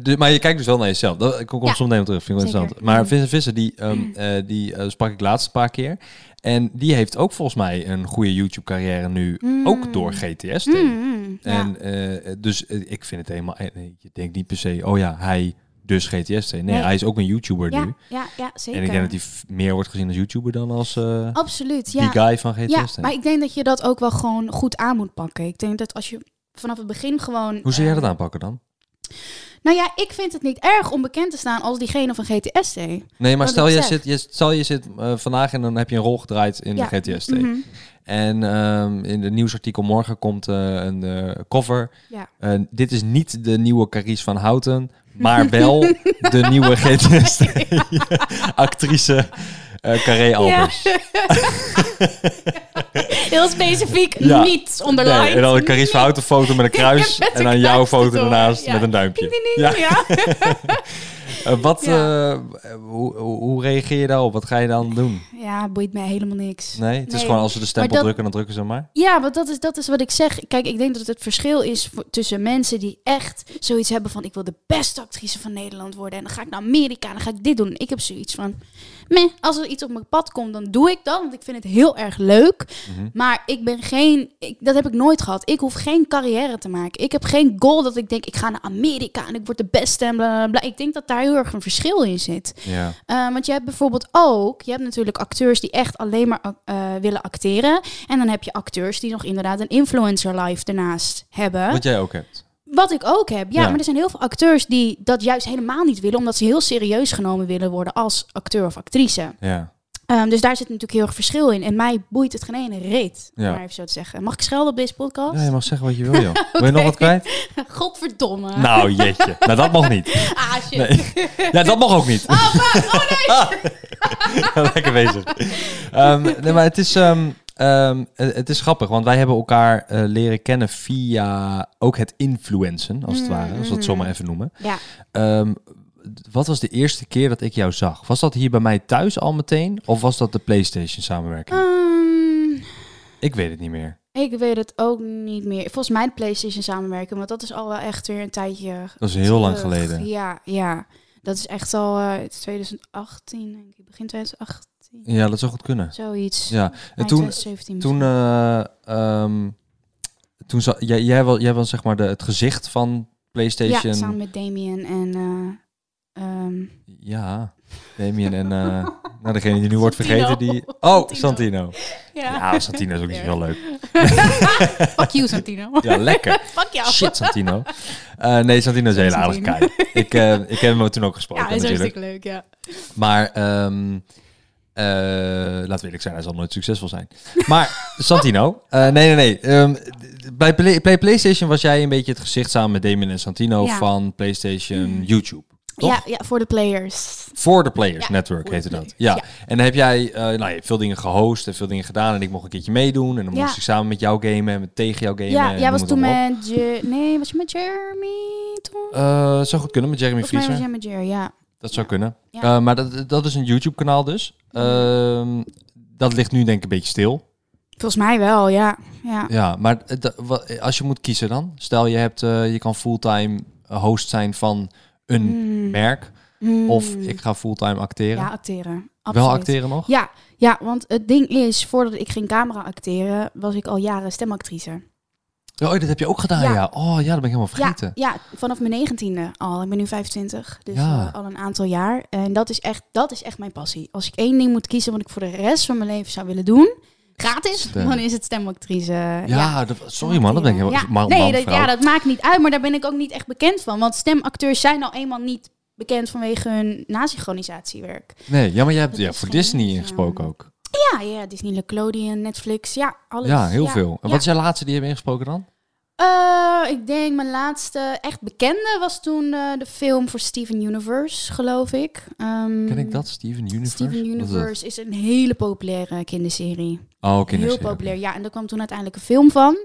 S1: de- maar je kijkt dus wel naar jezelf. Dat, ik kom
S2: Ja.
S1: soms meteen op terug, vind ik wel
S2: Zeker. Mm.
S1: interessant. Maar Vincent Visser, die, ehm, eh, die eh, sprak ik laatst een paar keer. En die heeft ook volgens mij een goede YouTube-carrière nu, ook door GTS.
S2: Mm, ja.
S1: En eh, dus eh, ik vind het helemaal... eh, nee, Je denkt niet per se, oh ja, hij dus GTS. Nee,
S2: Nee.
S1: hij is ook een YouTuber
S2: ja,
S1: nu.
S2: ja, ja, zeker.
S1: En ik denk dat hij f- meer wordt gezien als YouTuber dan als eh,
S2: Absoluut, ja.
S1: die guy van GTS.
S2: Ja, maar ik denk dat je dat ook wel gewoon goed aan moet pakken. Ik denk dat als je vanaf het begin gewoon...
S1: Hoe zou
S2: eh,
S1: jij dat aanpakken dan?
S2: Nou ja, ik vind het niet erg om bekend te staan als diegene van GTSD.
S1: Nee, maar
S2: Wat
S1: stel
S2: ik
S1: je,
S2: zeg.
S1: zit, je, stel je zit eh, vandaag en dan heb je een rol gedraaid in
S2: Ja.
S1: de GTST.
S2: Mhm.
S1: En ehm, in het nieuwsartikel morgen komt eh, een eh, cover.
S2: Ja.
S1: Eh, dit is niet de nieuwe Caries van Houten, maar wel de nieuwe GTST-actrice eh Carré Albers.
S2: Heel specifiek
S1: Ja.
S2: niet
S1: Nee,
S2: onderlined.
S1: en dan een Caries van Houten foto met een kruis
S2: Met
S1: en
S2: een
S1: dan jouw
S2: kruis
S1: foto
S2: erdoor,
S1: daarnaast
S2: ja.
S1: met een duimpje.
S2: Ding, ding, ding, ja.
S1: Eh, wat,
S2: Ja.
S1: eh, hoe, hoe hoe reageer je daarop? Wat ga je dan doen?
S2: Ja, boeit mij helemaal niks.
S1: Nee, het is
S2: Nee.
S1: gewoon als ze de stempel
S2: Maar dat-
S1: drukken, dan drukken ze hem maar.
S2: Ja, want dat is, dat is wat ik zeg. Kijk, ik denk dat het verschil is voor- tussen mensen die echt zoiets hebben van... ik wil de beste actrice van Nederland worden... en dan ga ik naar Amerika en dan ga ik dit doen. En ik heb zoiets van... meh, als er iets op mijn pad komt, dan doe ik dat... want ik vind het heel erg leuk. Maar ik ben geen... Ik, dat heb ik nooit gehad. Ik hoef geen carrière te maken. Ik heb geen goal dat ik denk... ik ga naar Amerika en ik word de beste en bla, bla, bla. Ik denk dat daar heel erg een verschil in zit.
S1: Ja.
S2: Eh, want je hebt bijvoorbeeld ook, je hebt natuurlijk acteurs die echt alleen maar ac- eh, willen acteren. En dan heb je acteurs die nog inderdaad een influencer life ernaast hebben.
S1: Wat jij ook hebt.
S2: Wat ik ook heb, ja,
S1: Ja.
S2: Maar er zijn heel veel acteurs die dat juist helemaal niet willen. Omdat ze heel serieus genomen willen worden als acteur of actrice.
S1: Ja.
S2: Ehm, dus daar zit natuurlijk heel erg verschil in. En mij boeit het geen ene reet, om
S1: Ja.
S2: maar even zo te zeggen. Mag ik schelden op deze podcast?
S1: ja, je mag zeggen wat je wil, joh. Wil je nog wat kwijt?
S2: Godverdomme.
S1: Nou, jeetje. Nou, dat mag niet.
S2: Ah, shit.
S1: Ja, dat mag ook niet.
S2: Oh, fuck. Oh, nee.
S1: Lekker bezig. Ehm, nee, maar het is, ehm, ehm, het, het is grappig, want wij hebben elkaar eh, leren kennen via ook het influencen, als het ware. Als we dat zomaar even noemen.
S2: Ja.
S1: Ehm, d- wat was de eerste keer dat ik jou zag? Was dat hier bij mij thuis al meteen? Of was dat de PlayStation samenwerking?
S2: Ehm,
S1: Ik weet het niet meer.
S2: Ik weet het ook niet meer. Volgens mij de PlayStation samenwerken, want dat is al wel echt weer een tijdje.
S1: Dat is heel lang
S2: terug.
S1: geleden.
S2: Ja, ja. Dat is echt al eh, het is 2018, denk ik. Begin 2018.
S1: Ja, dat zou goed kunnen.
S2: Zoiets.
S1: Ja, en
S2: Eind
S1: toen,
S2: 2017
S1: toen,
S2: misschien.
S1: eh, ehm, toen za- jij, jij, was, jij was zeg maar de, het gezicht van
S2: Ja,
S1: eh, PlayStation.
S2: samen met Damien en... eh, ehm,
S1: Ja, Damien en eh, nou, degene die nu wordt
S2: Santino.
S1: vergeten, die... Oh,
S2: Santino.
S1: Santino.
S2: ja.
S1: Ja, Santino is ook niet zo heel leuk.
S2: Fuck you, Santino.
S1: Ja, lekker.
S2: Fuck jou.
S1: Shit, Santino. Eh, nee, Santino is een hele aardige
S2: Santino.
S1: guy. Ik, eh, ik heb hem toen ook gesproken
S2: Ja, hij is
S1: natuurlijk.
S2: hartstikke leuk, ja.
S1: Maar ehm eh, laten we eerlijk zijn, hij zal nooit succesvol zijn. Maar Santino, eh, nee, nee, nee. ehm, d- bij Play, bij PlayStation was jij een beetje het gezicht samen met Damon en Santino
S2: Ja. Mm.
S1: van PlayStation YouTube. Toch?
S2: ja. Ja, voor de players.
S1: Voor de Players Network
S2: voor de
S1: heette dat.
S2: players,
S1: Ja.
S2: ja.
S1: En dan heb jij eh, nou, je hebt veel dingen gehost en veel dingen gedaan. En ik mocht een keertje meedoen. En dan
S2: Ja.
S1: moest ik samen met jou gamen en met- tegen jou gamen.
S2: ja,
S1: en
S2: jij
S1: noem
S2: was
S1: het
S2: toen
S1: allemaal op.
S2: met... Je, nee, was je met Jeremy toen?
S1: Eh, het zou goed kunnen met Jeremy
S2: Volgens mij was
S1: Vriezer.
S2: jij met Jeremy, ja.
S1: Dat zou kunnen.
S2: Ja. Mm.
S1: Eh, maar dat, dat is een YouTube-kanaal dus. Ehm, dat ligt nu denk ik een beetje stil.
S2: Volgens mij wel, ja. ja.
S1: Ja, maar het- dat- wat- als je moet kiezen dan, stel je, hebt, eh, je kan fulltime host zijn van een merk Mm. of ik ga fulltime acteren.
S2: Mm. Ja, acteren.
S1: Wel
S2: Absoluut.
S1: acteren nog?
S2: Ja, ja, want het ding is, voordat ik ging camera acteren, was ik al jaren stemactrice.
S1: Oh, dat heb je ook gedaan, ja.
S2: Ja.
S1: Oh ja, dat ben ik helemaal vergeten.
S2: Ja, ja, vanaf mijn negentiende al. Ik ben nu 25, dus
S1: Ja.
S2: eh, al een aantal jaar. En dat is, echt, dat is echt mijn passie. Als ik één ding moet kiezen wat ik voor de rest van mijn leven zou willen doen, gratis,
S1: Stem.
S2: dan is het stemactrice. Ja,
S1: Ja, dat- sorry man, dat ben ik helemaal...
S2: Ja.
S1: Man, man,
S2: nee, dat,
S1: vrouw.
S2: ja, dat maakt niet uit, maar daar ben ik ook niet echt bekend van. Want stemacteurs zijn nou eenmaal niet bekend vanwege hun nasynchronisatie-werk.
S1: Nee, ja, maar jij hebt
S2: Dat
S1: ja,
S2: is
S1: voor
S2: geen
S1: Disney
S2: naam.
S1: ingesproken ook.
S2: Ja, ja, Disney, Nickelodeon, Netflix, ja, alles.
S1: Ja, heel veel. En
S2: ja.
S1: wat is jouw laatste die je hebt ingesproken dan?
S2: Eh, ik denk mijn laatste echt bekende was toen eh, de film voor Steven Universe, geloof ik. Ehm,
S1: Ken ik dat? Steven Universe?
S2: Steven
S1: Wat is dat?
S2: Universe is een hele populaire kinderserie.
S1: Oh, kinderserie.
S2: Heel populair, ja. En er kwam toen uiteindelijk een film van.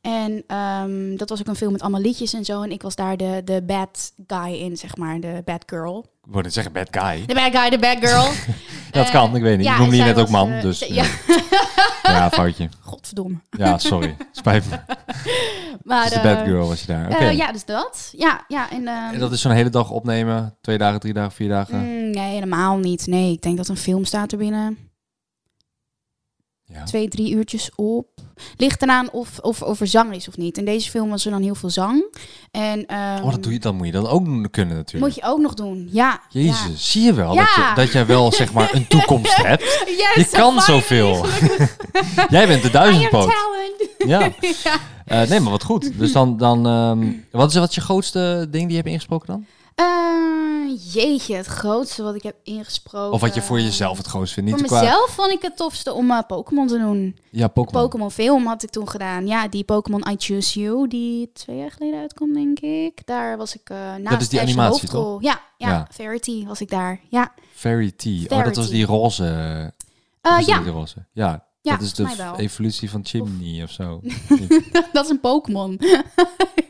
S2: En ehm, dat was ook een film met allemaal liedjes en zo. En ik was daar de, de bad guy in, zeg maar. De bad girl.
S1: Ik wou net zeggen, bad guy.
S2: De bad guy, de bad girl.
S1: Dat
S2: Eh,
S1: kan, ik weet niet.
S2: ja,
S1: ik noemde je
S2: zij
S1: net ook
S2: was,
S1: man,
S2: eh,
S1: dus...
S2: zij-
S1: Ja. ja, foutje.
S2: Godverdomme.
S1: Ja, sorry. Spijt me.
S2: Maar,
S1: Dus de
S2: eh,
S1: bad girl was je daar. Oké.
S2: eh, ja, dus dat. Ja, ja. En, ehm,
S1: En dat eh. is zo'n hele dag opnemen. Twee dagen, drie dagen, vier dagen.
S2: Mm, nee, helemaal niet. Nee, ik denk dat een film staat er binnen
S1: Ja.
S2: twee, drie uurtjes op. Ligt eraan of, of, of er zang is of niet. In deze film was er dan heel veel zang. En, ehm,
S1: Oh, dat doe je, dan moet je dat ook doen- kunnen natuurlijk.
S2: Moet je ook nog doen, ja.
S1: Jezus, zie je wel
S2: Ja.
S1: dat, je, dat jij wel zeg maar een toekomst hebt.
S2: Ja.
S1: Je kan zoveel. jij bent de duizendpoot.
S2: talent.
S1: Ja. Eh, nee, maar wat goed. Dus dan, dan ehm, wat, is, wat is je grootste ding die je hebt ingesproken dan?
S2: Eh, jeetje, het grootste wat ik heb ingesproken.
S1: Of wat je voor jezelf het grootste vindt? Niet
S2: Voor
S1: qua,
S2: mezelf vond ik het tofste om eh, Pokémon te doen.
S1: ja, Pokémon.
S2: Pokémon film had ik toen gedaan. Ja, die Pokémon I Choose You, die twee jaar geleden uitkwam, denk ik. Daar was ik eh naast
S1: is die
S2: Ash de
S1: animatie,
S2: hoofdrol. Ja, ja,
S1: Ja.
S2: Verity was ik daar. Ja,
S1: Fairy Tea. Oh, dat
S2: Fairy
S1: was
S2: Tea.
S1: die roze.
S2: Eh,
S1: was dat
S2: ja.
S1: die roze. Ja,
S2: Ja,
S1: dat is de
S2: volgens mij wel.
S1: evolutie van Chimney of zo. Oh,
S2: dat is een Pokémon.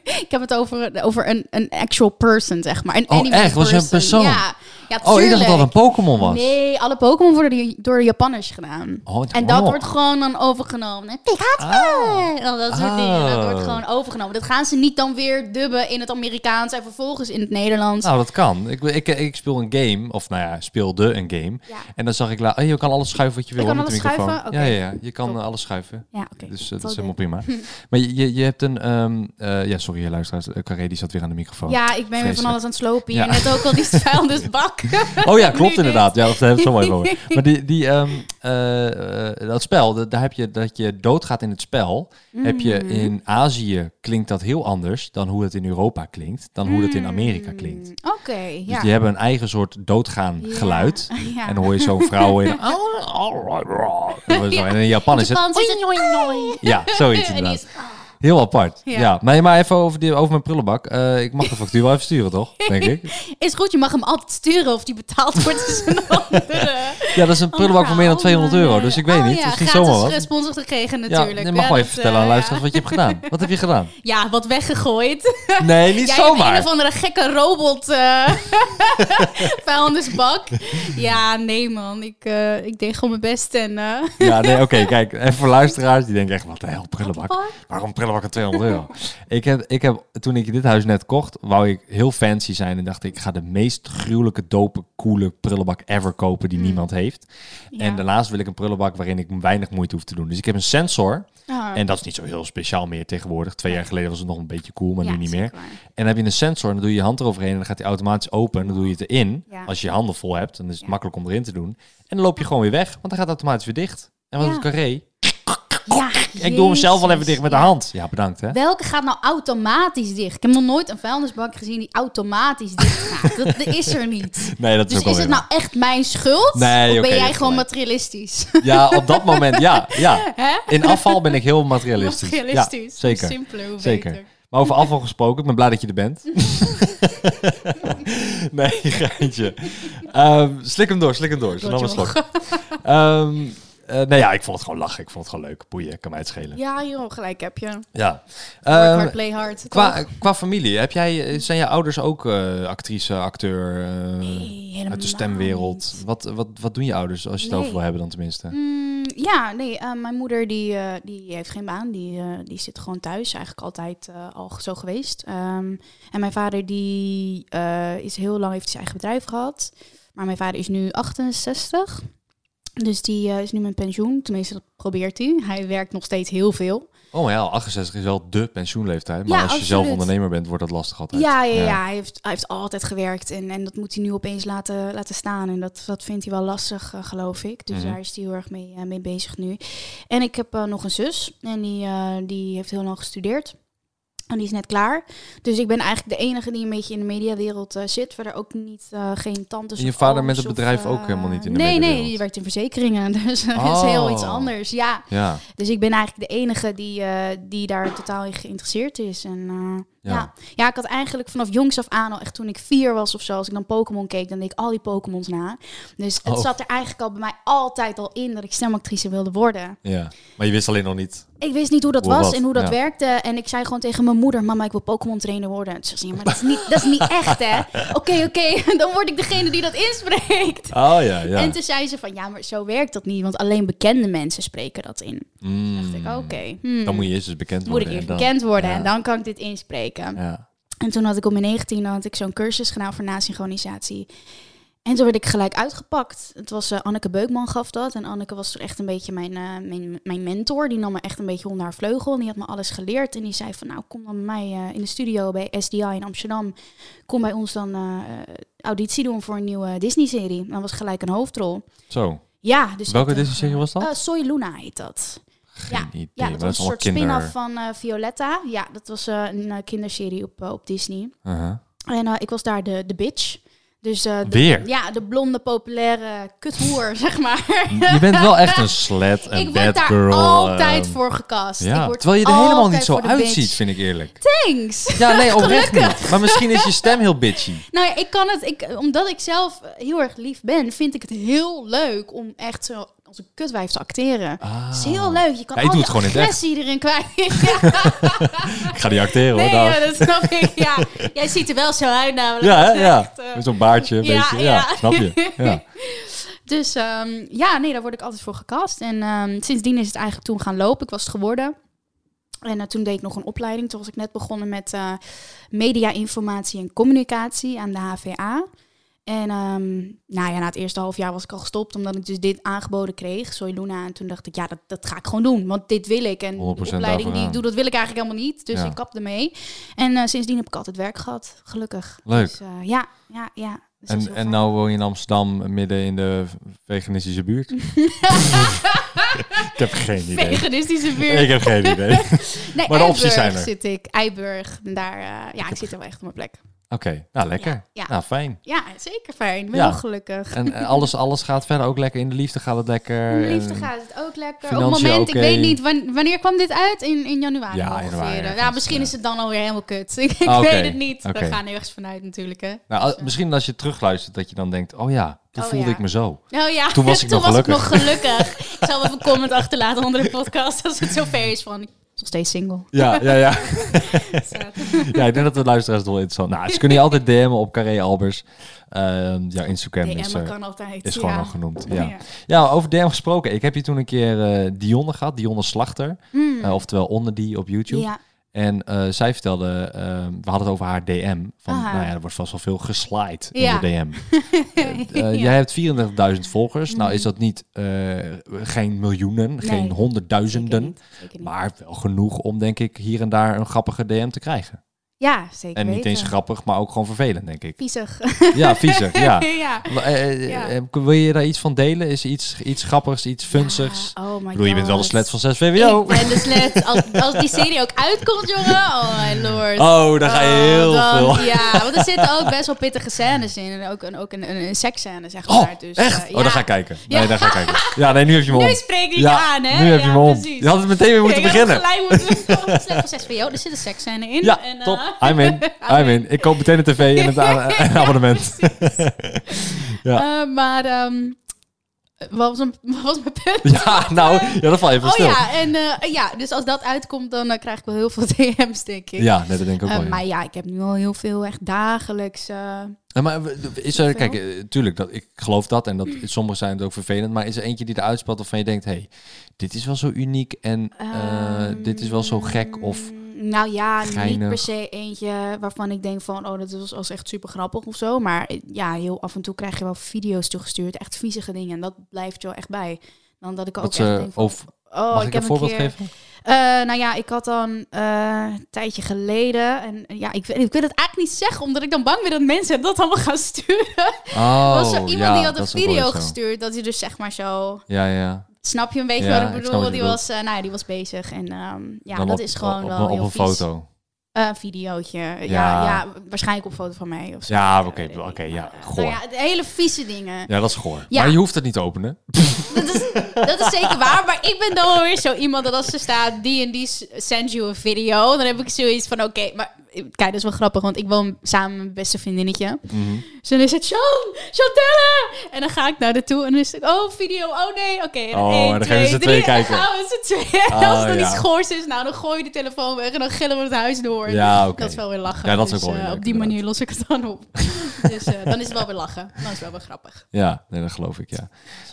S2: ik heb het over, over een, een actual person, zeg maar. Een
S1: Oh,
S2: anime
S1: echt? Was het een persoon?
S2: Ja, ja
S1: oh, ik dacht dat dat
S2: tuurlijk.
S1: een Pokémon was.
S2: Nee, alle Pokémon worden die- door de Japanners gedaan.
S1: Oh, het-
S2: en dat
S1: oh.
S2: wordt gewoon dan overgenomen. hè. Pikachu! En al dat soort
S1: Oh.
S2: dingen. Dat wordt gewoon overgenomen. Dat gaan ze niet dan weer dubben in het Amerikaans en vervolgens in het Nederlands.
S1: Nou, dat kan. Ik, ik, ik speel een game, of nou ja, speelde een game.
S2: Ja.
S1: En dan zag ik, la- oh, je kan alles schuiven wat je wil
S2: kan
S1: hoor, met de
S2: alles
S1: microfoon.
S2: schuiven?
S1: Ja,
S2: Oké.
S1: ja, ja, je kan
S2: Top.
S1: eh, alles schuiven.
S2: Ja, oké.
S1: Dus eh,
S2: Dat
S1: dat is
S2: wel
S1: helemaal prima. maar je, je, je hebt een... ehm, eh, ja, sorry, je luisteraars. eh, Carré, die zat weer aan de microfoon.
S2: Ja, ik ben weer van
S1: Vreselijk.
S2: alles aan het slopen.
S1: Ja.
S2: En net ook al die vuilnisbak.
S1: Oh ja,
S2: Nu dus.
S1: klopt
S2: dit.
S1: inderdaad. Ja, dat hebben we het zo mooi over. Maar die, die, ehm, eh, eh, dat spel, dat- daar heb je dat je doodgaat in het spel. Heb je
S2: Mhm.
S1: in Azië klinkt dat heel anders dan hoe het in Europa klinkt, dan hoe het in Amerika klinkt. Dus
S2: Oké, ja.
S1: die hebben een eigen soort doodgaan
S2: Ja.
S1: geluid.
S2: Ja.
S1: En dan hoor je zo'n vrouw in. En in Japan is het.
S2: Japan zit het-
S1: Ja, zoiets
S2: En die
S1: inderdaad.
S2: is-
S1: Heel apart. Ja.
S2: Ja.
S1: Maar, maar even over, die, over mijn prullenbak. Eh, ik mag de factuur wel even sturen, toch? Denk ik.
S2: Is goed, je mag hem altijd sturen of die betaald wordt. is een andere.
S1: Ja, dat is een prullenbak van meer dan 200 euro. Dus ik weet
S2: Oh
S1: niet.
S2: Ja,
S1: Misschien
S2: gratis
S1: zomaar wat.
S2: gesponsord gekregen natuurlijk.
S1: Ja, nee, mag wel
S2: dat,
S1: even vertellen aan
S2: eh,
S1: luisteraars wat je hebt gedaan. Wat heb je gedaan?
S2: Ja, wat weggegooid.
S1: Nee, niet
S2: Jij
S1: zomaar.
S2: hebt een of andere gekke robot eh vuilnisbak. Ja, nee man. Ik, eh, ik deed gewoon mijn best en... eh,
S1: Ja, nee, oké, kijk. En voor luisteraars die denken echt, wat de hel, prullenbak.
S2: What the
S1: Waarom prullenbak aan 200 euro? ik heb, ik heb, toen ik dit huis net kocht, wou ik heel fancy zijn. En dacht ik, ik ga de meest gruwelijke, dope, coole prullenbak ever kopen
S2: Mm.
S1: die niemand heeft. En daarnaast wil ik een prullenbak waarin ik weinig moeite hoef te doen. Dus ik heb een sensor.
S2: Ah.
S1: En dat is niet zo heel speciaal meer tegenwoordig. Twee jaar geleden was het nog een beetje cool, maar
S2: Ja,
S1: nu niet meer.
S2: zeker waar.
S1: En dan heb je een sensor en dan doe je je hand eroverheen en dan gaat hij automatisch open. En dan doe je het erin.
S2: Ja.
S1: Als je je handen vol hebt, dan is het makkelijk om erin te doen. En dan loop je gewoon weer weg, want dan gaat het automatisch weer dicht. En wat
S2: Ja.
S1: is het carré?
S2: Ja,
S1: Ik doe hem zelf wel even
S2: Jezus,
S1: dicht met de
S2: ja.
S1: hand. Ja, bedankt hè.
S2: Welke gaat nou automatisch dicht? Ik heb nog nooit een vuilnisbak gezien die automatisch dicht gaat. dat, dat is er niet.
S1: Nee, dat is
S2: Dus
S1: ook
S2: is
S1: alweer
S2: het nou echt mijn schuld?
S1: Nee,
S2: of
S1: oké, je
S2: ben jij
S1: hebt
S2: gewoon
S1: gelijk.
S2: materialistisch?
S1: Ja, op dat moment, ja. ja. In afval ben ik heel materialistisch.
S2: materialistisch.
S1: Ja, zeker.
S2: Hoe simpeler, hoe
S1: Zeker.
S2: beter.
S1: Maar over afval gesproken, ik ben blij dat je er bent. nee, geintje. Ehm, slik hem door, slik hem door. Zo nam een slok. Ehm, eh, nou ja, ik vond het gewoon lachen. Ik vond het gewoon leuk. Boeien, kan mij het schelen. Ja.
S2: Ja, joh, gelijk heb je. Work
S1: Ehm,
S2: hard, play hard.
S1: qua,
S2: toch?
S1: qua familie, heb jij, zijn je ouders ook eh, actrice, acteur eh,
S2: helemaal
S1: uit de stemwereld? Wat, wat, wat doen je ouders, als je het
S2: Nee.
S1: over wil hebben dan tenminste?
S2: Mm, ja, nee, eh, mijn moeder die, eh, die heeft geen baan. Die, eh, die zit gewoon thuis, eigenlijk altijd eh, al zo geweest. Ehm, en mijn vader die eh, is heel lang, heeft zijn eigen bedrijf gehad. Maar mijn vader is nu 68. Dus die eh, is nu met pensioen. Tenminste, dat probeert hij. Hij werkt nog steeds heel veel.
S1: Oh maar ja, 68 is wel de pensioenleeftijd. Maar
S2: Ja,
S1: als je zelf
S2: absoluut.
S1: ondernemer bent, wordt dat lastig altijd.
S2: Ja, ja, ja. Hij, heeft, hij heeft altijd gewerkt en, en dat moet hij nu opeens laten, laten staan. En dat, dat vindt hij wel lastig, eh, geloof ik.
S1: Mhm.
S2: Dus daar is hij heel erg mee, eh, mee bezig nu. En ik heb eh, nog een zus en die, eh, die heeft heel lang gestudeerd. En die is net klaar. Dus ik ben eigenlijk de enige die een beetje in de mediawereld eh, zit. Verder ook niet, eh, geen tantes
S1: En je
S2: of
S1: vader met
S2: ooms
S1: het
S2: of,
S1: bedrijf ook
S2: eh,
S1: helemaal niet in de
S2: Nee, nee,
S1: mediawereld?
S2: die werkt in verzekeringen. Dus dat is heel iets
S1: Oh.
S2: anders. Ja,
S1: Ja.
S2: dus ik ben eigenlijk de enige die, eh, die daar totaal in geïnteresseerd is. En, eh,
S1: Ja.
S2: ja. Ja. ik had eigenlijk vanaf jongs af aan al echt toen ik vier was of zo, als ik dan Pokémon keek, dan deed ik al die Pokémons na. Dus het
S1: Oh.
S2: zat er eigenlijk al bij mij altijd al in dat ik stemactrice wilde worden.
S1: ja. Maar je wist alleen nog niet.
S2: Ik wist niet hoe dat
S1: Hoe
S2: was
S1: wat,
S2: en hoe dat
S1: ja.
S2: werkte. En ik zei gewoon tegen mijn moeder, mama, ik wil Pokémon trainer worden. En ze zei, maar dat is niet, dat is niet echt hè. Oké, oké, dan word ik degene die dat inspreekt.
S1: Oh ja, ja.
S2: En toen zei ze van, ja, maar zo werkt dat niet, want alleen bekende mensen spreken dat in.
S1: Mm.
S2: Dacht ik, oké. hmm
S1: Dan moet je eerst eens bekend
S2: moet
S1: worden.
S2: ik eerst
S1: en dan-
S2: bekend worden
S1: Ja.
S2: en dan kan ik dit inspreken.
S1: Ja.
S2: En toen had ik op mijn 19 had ik zo'n cursus gedaan voor nasynchronisatie. En toen werd ik gelijk uitgepakt. Het was eh, Anneke Beukman gaf dat. En Anneke was toen echt een beetje mijn, eh, mijn, mijn mentor. Die nam me echt een beetje onder haar vleugel. En die had me alles geleerd. En die zei van nou kom dan bij mij eh, in de studio bij SDI in Amsterdam. Kom bij ons dan eh, auditie doen voor een nieuwe Disney serie. Dat was gelijk een hoofdrol.
S1: Zo.
S2: Ja, dus
S1: Welke
S2: ik dacht,
S1: Disney-serie was dat?
S2: eh, Soy Luna heet dat.
S1: Geen idee.
S2: Ja,
S1: maar dat
S2: dat was
S1: is
S2: een
S1: allemaal
S2: soort
S1: kinder.
S2: spin-off van eh, Violetta. Ja, dat was eh, een eh, kinderserie op, eh, op Disney.
S1: Uh-huh.
S2: En eh, ik was daar de, de bitch. Dus, eh, de-
S1: Weer?
S2: Ja, de blonde, populaire kuthoer, zeg maar.
S1: Je bent wel echt een slet, een
S2: ik word
S1: bad
S2: daar
S1: girl.
S2: altijd
S1: ehm,
S2: voor gekast.
S1: Ja.
S2: Ik word
S1: Terwijl je er helemaal niet
S2: altijd
S1: zo
S2: voor de
S1: uitziet,
S2: bitch.
S1: vind ik eerlijk.
S2: Thanks!
S1: Ja, nee, oprecht niet. Maar misschien is je stem heel bitchy.
S2: Nou eh, ja, ik kan het, ik, omdat ik zelf heel erg lief ben, vind ik het heel leuk om echt zo als een kutwijf te acteren.
S1: Ah.
S2: Dat is heel leuk. Je kan
S1: Ja, ik doe
S2: al die
S1: het gewoon in het echt.
S2: agressie erin kwijt. Ja.
S1: Ik ga die acteren
S2: Nee,
S1: hoor. dag.
S2: ja, dat snap ik. Ja. Jij ziet er wel zo uit namelijk.
S1: Ja, hè?
S2: Dat is
S1: ja.
S2: echt, eh,
S1: Met zo'n baardje, een
S2: ja,
S1: beetje. Ja,
S2: ja.
S1: snap je. Ja.
S2: Dus ehm, ja, nee, daar word ik altijd voor gekast. En ehm, sindsdien is het eigenlijk toen gaan lopen. Ik was het geworden. En eh, toen deed ik nog een opleiding. Toen was ik net begonnen met eh, media, informatie en communicatie aan de HVA. En ehm, nou ja, na het eerste half jaar was ik al gestopt, omdat ik dus dit aangeboden kreeg, Soy Luna. En toen dacht ik, ja, dat, dat ga ik gewoon doen, want dit wil ik. En de
S1: 100%
S2: opleiding die
S1: daarvoor aan.
S2: ik doe, dat wil ik eigenlijk helemaal niet. Dus
S1: Ja.
S2: ik kapte mee. En eh, sindsdien heb ik altijd werk gehad, gelukkig.
S1: Leuk.
S2: Dus, eh, ja, ja, ja. Dus dat is
S1: En,
S2: heel
S1: en
S2: fijn.
S1: nou woon je in Amsterdam, midden in de veganistische buurt? ik heb geen idee.
S2: Veganistische buurt.
S1: Ik heb geen idee. Oké,
S2: Nee,
S1: Maar de opties
S2: Eiburg
S1: zijn er.
S2: zit ik. Eiburg, en daar, eh, ja, ik zit er wel echt op mijn plek.
S1: nou lekker.
S2: Ja, ja.
S1: Nou, fijn.
S2: Ja, zeker fijn. Ik ben
S1: Ja.
S2: heel gelukkig.
S1: En eh, alles, alles gaat verder ook lekker. In de liefde gaat het lekker.
S2: In de liefde
S1: En-
S2: gaat het ook lekker. Op het
S1: financiën
S2: moment,
S1: oké.
S2: ik weet niet, wan- wanneer kwam dit uit? In, in januari
S1: Ja,
S2: ongeveer.
S1: januari ergens,
S2: ja, misschien
S1: ja.
S2: is het dan alweer helemaal kut. ik ik
S1: Ah, oké,
S2: weet het niet.
S1: oké.
S2: We gaan ergens vanuit natuurlijk, hè.
S1: Nou, al- misschien als je terugluistert dat je dan denkt, oh ja, toen
S2: Oh
S1: voelde
S2: ja.
S1: ik me zo.
S2: Nou ja,
S1: Toen was ik nog
S2: nog gelukkig. ik zal even een comment achterlaten onder de podcast als het zover is van... Ik ben nog steeds single.
S1: Ja, ja, ja.
S2: Dus, eh,
S1: ja, ik denk dat de luisteraars het wel interessant Nou, ze kunnen je altijd DM'en op Carré Albers. Ehm jouw Instagram
S2: nee,
S1: is,
S2: Emma
S1: eh,
S2: kan altijd.
S1: is gewoon
S2: ja.
S1: al genoemd. Ja.
S2: Ja.
S1: Ja, over DM gesproken. Ik heb hier toen een keer eh, Dionne gehad, Dionne Slachter.
S2: Hmm.
S1: Eh, oftewel onder die op YouTube.
S2: Ja.
S1: En eh, zij vertelde, eh, we hadden het over haar DM. Van,
S2: Aha.
S1: nou ja, er wordt vast wel veel geslaaid in
S2: Ja.
S1: de DM. Eh, Jij hebt 34.000 volgers.
S2: Hmm.
S1: Nou is dat niet, eh, geen miljoenen, geen
S2: Zeker
S1: honderdduizenden.
S2: niet, zeker niet.
S1: Maar wel genoeg om, denk ik, hier en daar een grappige DM te krijgen.
S2: Ja, zeker
S1: en niet
S2: weten.
S1: eens grappig, maar ook gewoon vervelend, denk ik.
S2: Viezig.
S1: Ja, viezig, ja.
S2: ja.
S1: Maar, eh, eh,
S2: Ja.
S1: eh, Wil je daar iets van delen? Is er iets, iets grappigs, iets funsigs?
S2: Ja, oh my
S1: Ik bedoel, je bent wel de
S2: God.
S1: slet van 6
S2: Ik
S1: VWO.
S2: ben de slet. Als, als die serie ook uitkomt, jongen. Oh my lord.
S1: Oh, daar ga je
S2: Oh,
S1: heel
S2: dan-
S1: veel.
S2: Ja, want er zitten ook best wel pittige scènes in. En ook een, ook een, een, een seksscène, zeg maar.
S1: Oh,
S2: dus,
S1: echt?
S2: eh,
S1: Oh,
S2: ja.
S1: daar ga ik kijken.
S2: Ja.
S1: Nee, daar ga ik kijken. Ja, nee, nu heb je me om.
S2: Nu spreek ik je
S1: ja,
S2: aan, hè?
S1: Nu heb je
S2: Ja,
S1: me om.
S2: precies.
S1: Je had het meteen weer moeten
S2: Ik had
S1: beginnen.
S2: gelijk moeten komen. Slet van 6 VO, er zit een seksscène in.
S1: Ja,
S2: en, eh,
S1: top. I'm in. I'm in. Ik koop meteen een tv en het a- en een abonnement.
S2: eh, maar, ehm, wat was, een, wat was mijn punt?
S1: Ja, nou, ja, dat valt even
S2: Oh
S1: stil.
S2: ja, en eh, ja, dus als dat uitkomt, dan eh, krijg ik wel heel veel DM's, denk ik.
S1: Ja, nee, dat denk ik ook
S2: Eh,
S1: wel. ja.
S2: maar ja, ik heb nu al heel veel echt dagelijks. eh,
S1: Ja, Nou, Maar w- is er, kijk, eh, tuurlijk, dat, ik geloof dat en dat, sommigen zijn het ook vervelend, maar is er eentje die eruit spat waarvan je denkt, hé, hey, dit is wel zo uniek en eh,
S2: ehm,
S1: dit is wel zo gek of...
S2: Nou ja, niet
S1: geinig.
S2: per se eentje waarvan ik denk van, oh, dat was, was echt super grappig of zo. Maar eh, ja, heel af en toe krijg je wel video's toegestuurd, echt viezige dingen. En dat blijft je wel echt bij. Dan dat ik ook
S1: Wat
S2: echt
S1: ze,
S2: denk van,
S1: eh, of
S2: oh,
S1: mag ik,
S2: heb
S1: een voorbeeld
S2: keer-
S1: geven?
S2: Eh, nou ja, ik had dan eh, een tijdje geleden. En eh, ja, ik, weet- ik wil het eigenlijk niet zeggen, omdat ik dan bang ben dat mensen dat allemaal gaan sturen.
S1: Oh,
S2: was er iemand
S1: ja,
S2: die
S1: dat
S2: had een
S1: is ook wel
S2: video
S1: eens zo.
S2: gestuurd, dat hij dus zeg maar zo.
S1: Ja, ja.
S2: Snap je een beetje
S1: Ja,
S2: wat
S1: ik
S2: ik
S1: snap
S2: bedoel?
S1: wat je
S2: die,
S1: bedoelt.
S2: was, eh, nou ja, die was bezig. En ehm, ja,
S1: Dan
S2: dat
S1: op-
S2: is gewoon
S1: op,
S2: wel
S1: op
S2: heel
S1: een
S2: vies.
S1: foto.
S2: Eh, Een videootje. Ja.
S1: Ja.
S2: Ja, waarschijnlijk op foto van mij of zo.
S1: Ja,
S2: Eh,
S1: oké,
S2: weet ik
S1: oké,
S2: niet.
S1: ja,
S2: Maar, eh,
S1: goor.
S2: Nou ja, de hele vieze dingen.
S1: Ja, dat is goor.
S2: Ja.
S1: Maar je hoeft het niet te openen.
S2: Dat is, dat is zeker waar, maar ik ben dan wel weer zo iemand dat als er staat die en die s- send you een video, dan heb ik zoiets van oké, maar kijk, dat is wel grappig, want ik woon samen met mijn beste vriendinnetje.
S1: Mhm.
S2: Dus dan is het Sean, Chantelle! En dan ga ik naar de toe en dan is het oh video, oh nee, oké. en
S1: Oh, en
S2: één,
S1: dan geven ze twee
S2: twee, drie, en
S1: kijken.
S2: dan gaan we ze twee. En
S1: Ah,
S2: als het dan
S1: ja.
S2: iets goors is, nou dan gooi je de telefoon weg en dan gillen we het huis door.
S1: Ja, oké.
S2: Dat is wel weer lachen.
S1: Ja, dat is
S2: dus,
S1: ook wel weer
S2: eh,
S1: leuk,
S2: Op die
S1: inderdaad.
S2: manier los ik het dan op. dus eh, dan is het wel weer lachen. Dan is het wel weer grappig.
S1: Ja, nee, dat geloof ik, ja.